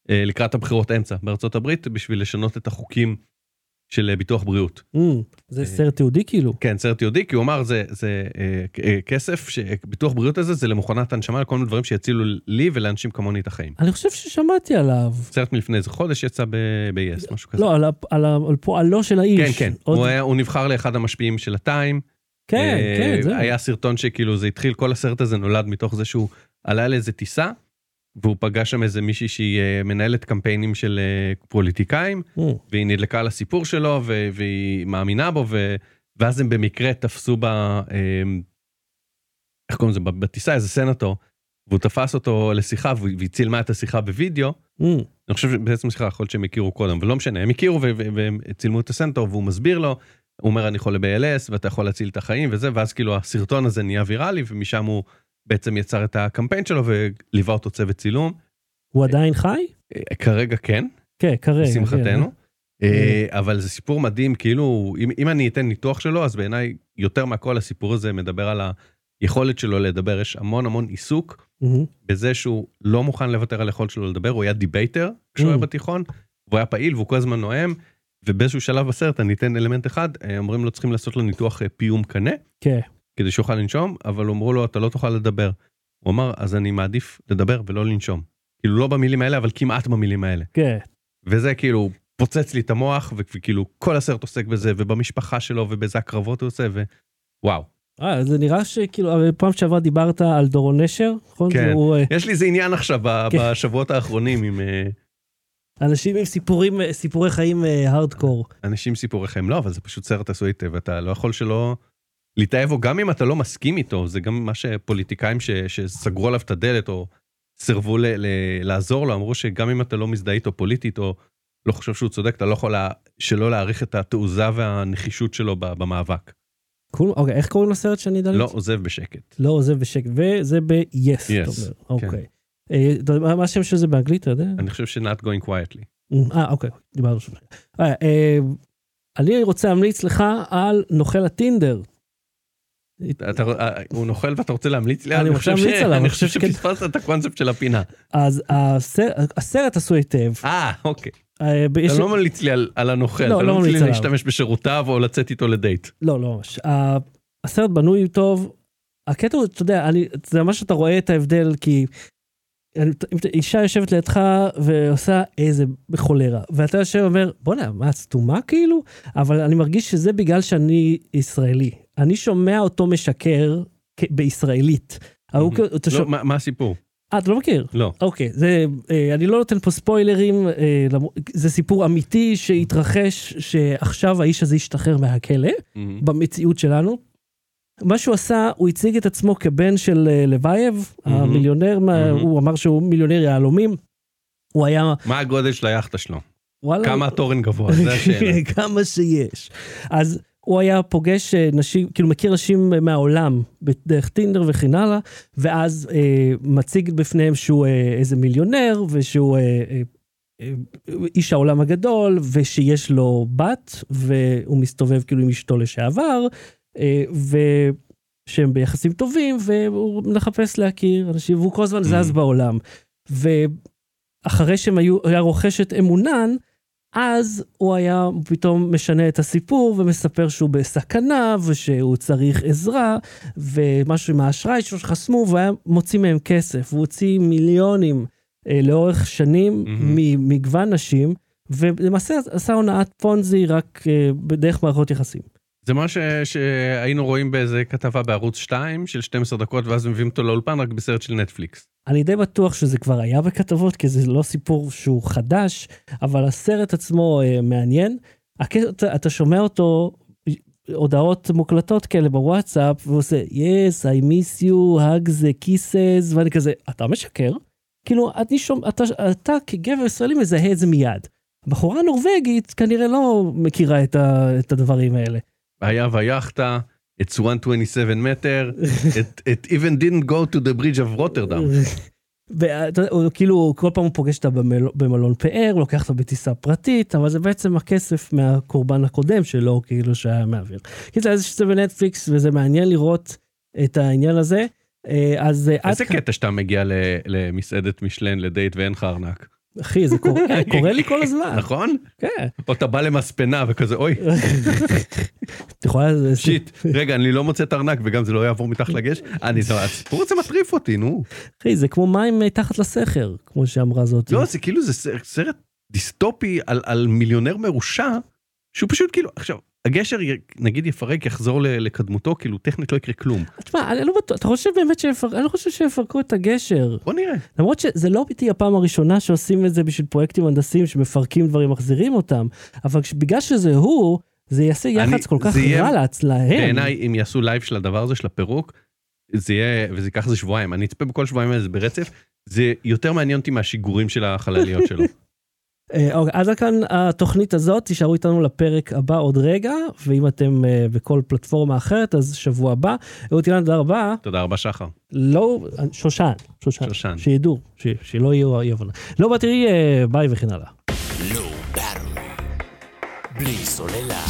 [SPEAKER 2] אה, לקראת הבחירות אמצע בארצות הברית בשביל לשנות את החוקים של אה, ביטוח בריאות.
[SPEAKER 1] מהמם. זה
[SPEAKER 2] אה,
[SPEAKER 1] סרט תיעודי כאילו.
[SPEAKER 2] כן סרט יהודי כי הוא אמר זה זה אה, כ- אה, כסף שביטוח בריאות הזה זה למכונת הנשמה לכל מיני דברים שיצילו לי ולאנשים כמוני את החיים.
[SPEAKER 1] אני חושב ששמעתי עליו.
[SPEAKER 2] סרט מלפני איזה חודש יצא ב- ב-yes משהו כזה.
[SPEAKER 1] לא, על ה- על ה- על פועלו של
[SPEAKER 2] כן
[SPEAKER 1] האיש.
[SPEAKER 2] כן
[SPEAKER 1] עוד-
[SPEAKER 2] הוא היה- הוא נבחר לאחד המשפיעים של הטיים.
[SPEAKER 1] כן,
[SPEAKER 2] אה,
[SPEAKER 1] כן, זהו.
[SPEAKER 2] היה סרטון שכאילו זה התחיל, כל הסרט הזה נולד מתוך זה שהוא עלה לאיזה טיסה, והוא פגש שם איזה מישהי שהיא אה, מנהלת קמפיינים של אה, פוליטיקאים,
[SPEAKER 1] מהמם.
[SPEAKER 2] והיא נדלקה על הסיפור שלו, ו- והיא מאמינה בו, ו- ואז הם במקרה תפסו בה, אה, איך קוראים לזה, ב- בטיסה איזה סנטור, והוא תפס אותו לשיחה, והוא- והיא צילמה את השיחה בווידאו.
[SPEAKER 1] מהמם.
[SPEAKER 2] אני חושב שבעצם סליחה, יכול להיות שהם הכירו קודם, אבל לא משנה, הם הכירו ו- ו- והם צילמו את הסנטור והוא מסביר לו, הוא אומר אני חולה ב-ALS ואתה יכול להציל את החיים וזה, ואז כאילו הסרטון הזה נהיה ויראלי ומשם הוא בעצם יצר את הקמפיין שלו וליווה אותו צוות צילום.
[SPEAKER 1] הוא עדיין חי?
[SPEAKER 2] אה, כרגע כן,
[SPEAKER 1] כן, כרגע. כן.
[SPEAKER 2] לשמחתנו, אה, אבל זה סיפור מדהים, כאילו אם, אם אני אתן ניתוח שלו, אז בעיניי יותר מהכל הסיפור הזה מדבר על היכולת שלו לדבר, יש המון המון עיסוק
[SPEAKER 1] מהמם.
[SPEAKER 2] בזה שהוא לא מוכן לוותר על היכולת שלו לדבר, הוא היה דיבייטר כשהוא היה
[SPEAKER 1] Mm.
[SPEAKER 2] בתיכון, והוא היה פעיל והוא כל הזמן נואם, ובאיזשהו שלב בסרט, אני אתן אלמנט אחד, אה, אומרים לו צריכים לעשות לו ניתוח אה, פיום קנה,
[SPEAKER 1] כן.
[SPEAKER 2] כדי שיוכל לנשום, אבל אמרו לו אתה לא תוכל לדבר. הוא אמר אז אני מעדיף לדבר ולא לנשום. כאילו לא במילים האלה, אבל כמעט במילים האלה.
[SPEAKER 1] כן.
[SPEAKER 2] וזה כאילו פוצץ לי את המוח, וכאילו כל הסרט עוסק בזה, ובמשפחה שלו, ובאיזה הקרבות הוא עושה, ווואו.
[SPEAKER 1] אה, זה נראה שכאילו, הרי פעם שעברה דיברת על דורון נשר, נכון?
[SPEAKER 2] כן.
[SPEAKER 1] הוא, אה,
[SPEAKER 2] יש לי איזה עניין עכשיו ב-
[SPEAKER 1] כן.
[SPEAKER 2] בשבועות האחרונים עם... אה,
[SPEAKER 1] אנשים עם סיפורים, אה, סיפורי חיים אה, הארדקור.
[SPEAKER 2] אנשים סיפורי חיים לא, אבל זה פשוט סרט עשוי היטב, אתה לא יכול שלא להתאהב בו, גם אם אתה לא מסכים איתו, זה גם מה שפוליטיקאים ש, שסגרו עליו את הדלת או סירבו ל, ל, לעזור לו, אמרו שגם אם אתה לא מזדהה איתו פוליטית או לא חושב שהוא צודק, אתה לא יכול לה, שלא להעריך את התעוזה והנחישות שלו ב- במאבק.
[SPEAKER 1] קול, אוקיי, איך קוראים לסרט שאני אדע?
[SPEAKER 2] לא
[SPEAKER 1] למצוא?
[SPEAKER 2] עוזב בשקט.
[SPEAKER 1] לא עוזב בשקט, וזה ב-yes, אתה
[SPEAKER 2] Yes,
[SPEAKER 1] אומר.
[SPEAKER 2] כן.
[SPEAKER 1] אוקיי. אה, אתה יודע, מה- מה השם של זה באנגלית, אתה יודע?
[SPEAKER 2] אני חושב ש-not going quietly.
[SPEAKER 1] אה, אוקיי, דיברנו שם. אה, אה, אני רוצה להמליץ לך על נוכל הטינדר.
[SPEAKER 2] אתה, אה, הוא נוכל ואתה רוצה להמליץ לי?
[SPEAKER 1] אני
[SPEAKER 2] אני
[SPEAKER 1] רוצה
[SPEAKER 2] חושב ש-
[SPEAKER 1] להמליץ עליו,
[SPEAKER 2] אני
[SPEAKER 1] אני
[SPEAKER 2] חושב
[SPEAKER 1] חושב שכן.
[SPEAKER 2] שפספסת את הקונספט של הפינה.
[SPEAKER 1] אז הסרט- הסרט עשוי היטב.
[SPEAKER 2] אה, אוקיי.
[SPEAKER 1] אה, יש-
[SPEAKER 2] אתה לא ממליץ לי על, על הנוכל,
[SPEAKER 1] לא,
[SPEAKER 2] אתה לא
[SPEAKER 1] לא
[SPEAKER 2] ממליץ לי
[SPEAKER 1] ממליץ עליו.
[SPEAKER 2] להשתמש בשירותיו או לצאת איתו לדייט.
[SPEAKER 1] לא, לא ממש. ה- הסרט בנוי טוב. הקטע הוא, אתה יודע, אני, זה ממש אתה רואה את ההבדל, כי אני- אם ת- אישה יושבת לידך ועושה איזה חולרה, ואתה יושב ואומר, בואנה, מה, את סתומה כאילו? אבל אני מרגיש שזה בגלל שאני ישראלי. אני שומע אותו משקר כ- בישראלית. ההוא כאילו, אתה
[SPEAKER 2] לא,
[SPEAKER 1] שומע-
[SPEAKER 2] מה, מה הסיפור?
[SPEAKER 1] אה, אתה לא מכיר?
[SPEAKER 2] לא.
[SPEAKER 1] אוקיי, זה, אה, אני לא נותן פה ספוילרים, אה, למ- זה סיפור אמיתי שהתרחש, שעכשיו האיש הזה השתחרר מהכלא. במציאות שלנו. מה שהוא עשה, הוא הציג את עצמו כבן של אה, לבייב,
[SPEAKER 2] מהמם.
[SPEAKER 1] המיליונר, מה-
[SPEAKER 2] מהמם.
[SPEAKER 1] הוא אמר שהוא מיליונר יהלומים. הוא היה,
[SPEAKER 2] מה הגודל של היאכטה שלו?
[SPEAKER 1] וואלה.
[SPEAKER 2] כמה התורן גבוה? זה השאלה.
[SPEAKER 1] כמה שיש. אז הוא היה פוגש אה, נשים, כאילו מכיר נשים אה, מהעולם, דרך טינדר וכן הלאה, ואז אה, מציג בפניהם שהוא אה, איזה מיליונר, ושהוא אה, אה, אה, איש העולם הגדול, ושיש לו בת, והוא מסתובב כאילו עם אשתו לשעבר, אה, ו... שהם ביחסים טובים, והוא מחפש להכיר אנשים, והוא כל הזמן זז
[SPEAKER 2] Mm.
[SPEAKER 1] בעולם. ואחרי שהם היו, היה רוכש את אמונן, אז הוא היה פתאום משנה את הסיפור ומספר שהוא בסכנה ושהוא צריך עזרה ומשהו עם האשראי שלו שחסמו והיה מוציא מהם כסף. הוא הוציא מיליונים אה, לאורך שנים
[SPEAKER 2] מהמם.
[SPEAKER 1] ממגוון נשים ולמעשה עשה הונאת פונזי רק אה, בדרך מערכות יחסים.
[SPEAKER 2] זה מה ש- שהיינו רואים באיזה כתבה בערוץ 2 של 12 דקות, ואז מביאים אותו לאולפן רק בסרט של נטפליקס.
[SPEAKER 1] אני די בטוח שזה כבר היה בכתבות, כי זה לא סיפור שהוא חדש, אבל הסרט עצמו אה, מעניין. הקטע, אתה- אתה שומע אותו, הודעות מוקלטות כאלה בוואטסאפ, והוא עושה, yes, I miss you, hug the kisses, ואני כזה, אתה משקר? כאילו, אני שומע, אתה, אתה כגבר ישראלי מזהה את זה מיד. הבחורה הנורבגית כנראה לא מכירה את, ה, את הדברים האלה.
[SPEAKER 2] היה ויאכטה, it's 127 מטר, it, it even didn't go to the bridge of Rotterdam.
[SPEAKER 1] ואתה יודע, הוא כאילו כל פעם הוא פוגש אותה במל- במלון פאר, הוא לוקח אותה בטיסה פרטית, אבל זה בעצם הכסף מהקורבן הקודם שלו, כאילו שהיה מעביר. קיצר, אז שזה בנטפליקס וזה מעניין לראות את העניין הזה. אה, אז אה,
[SPEAKER 2] איזה
[SPEAKER 1] עד-
[SPEAKER 2] קטע שאתה מגיע ל- למסעדת משלן לדייט ואין לך ארנק,
[SPEAKER 1] אחי, זה קורה, אה, קורה לי כל הזמן.
[SPEAKER 2] נכון?
[SPEAKER 1] כן.
[SPEAKER 2] או אתה בא למספנה וכזה, אוי,
[SPEAKER 1] את יכולה...
[SPEAKER 2] שיט, רגע, אני לא מוצא את הארנק וגם זה לא יעבור מתחת לגש. אני, זה- הסיפור הזה מטריף אותי, נו.
[SPEAKER 1] אחי, זה כמו מים אה, תחת לסכר, כמו שאמרה זאת.
[SPEAKER 2] לא, זה כאילו, זה סרט- סרט דיסטופי על, על מיליונר מרושע, שהוא פשוט כאילו, עכשיו, הגשר י- נגיד יפרק, יחזור ל- לקדמותו, כאילו טכנית לא יקרה כלום.
[SPEAKER 1] תשמע, אני לא בטוח, אתה חושב באמת שיפרקו, אני לא חושב שיפרקו את הגשר.
[SPEAKER 2] בוא נראה.
[SPEAKER 1] למרות שזה לא תהיה הפעם הראשונה שעושים את זה בשביל פרויקטים הנדסיים שמפרקים דברים, מחזירים אותם, אבל כש- בגלל שזה הוא, זה יעשה
[SPEAKER 2] אני-
[SPEAKER 1] יח"צ כל כך
[SPEAKER 2] זה יהיה-
[SPEAKER 1] רע להצ-
[SPEAKER 2] כן.
[SPEAKER 1] להם.
[SPEAKER 2] בעיניי, אם יעשו לייב של הדבר הזה, של הפירוק, זה יהיה, וזה ייקח איזה שבועיים, אני אצפה בכל שבועיים האלה ברצף, זה יותר מעניין אותי מהשיגורים של החלליות שלו.
[SPEAKER 1] אה, אוקיי, אז עד כאן התוכנית הזאת, תישארו איתנו לפרק הבא עוד רגע, ואם אתם אה, בכל פלטפורמה אחרת, אז שבוע הבא. אהוד אילן, תודה רבה.
[SPEAKER 2] תודה רבה, שחר.
[SPEAKER 1] לא, שושן, שושן.
[SPEAKER 2] שושן.
[SPEAKER 1] שידעו, ש- שלא יהיו אי הבנה. לא בתראי, ביי וכן הלאה.
[SPEAKER 3] Low Battery. בלי סוללה.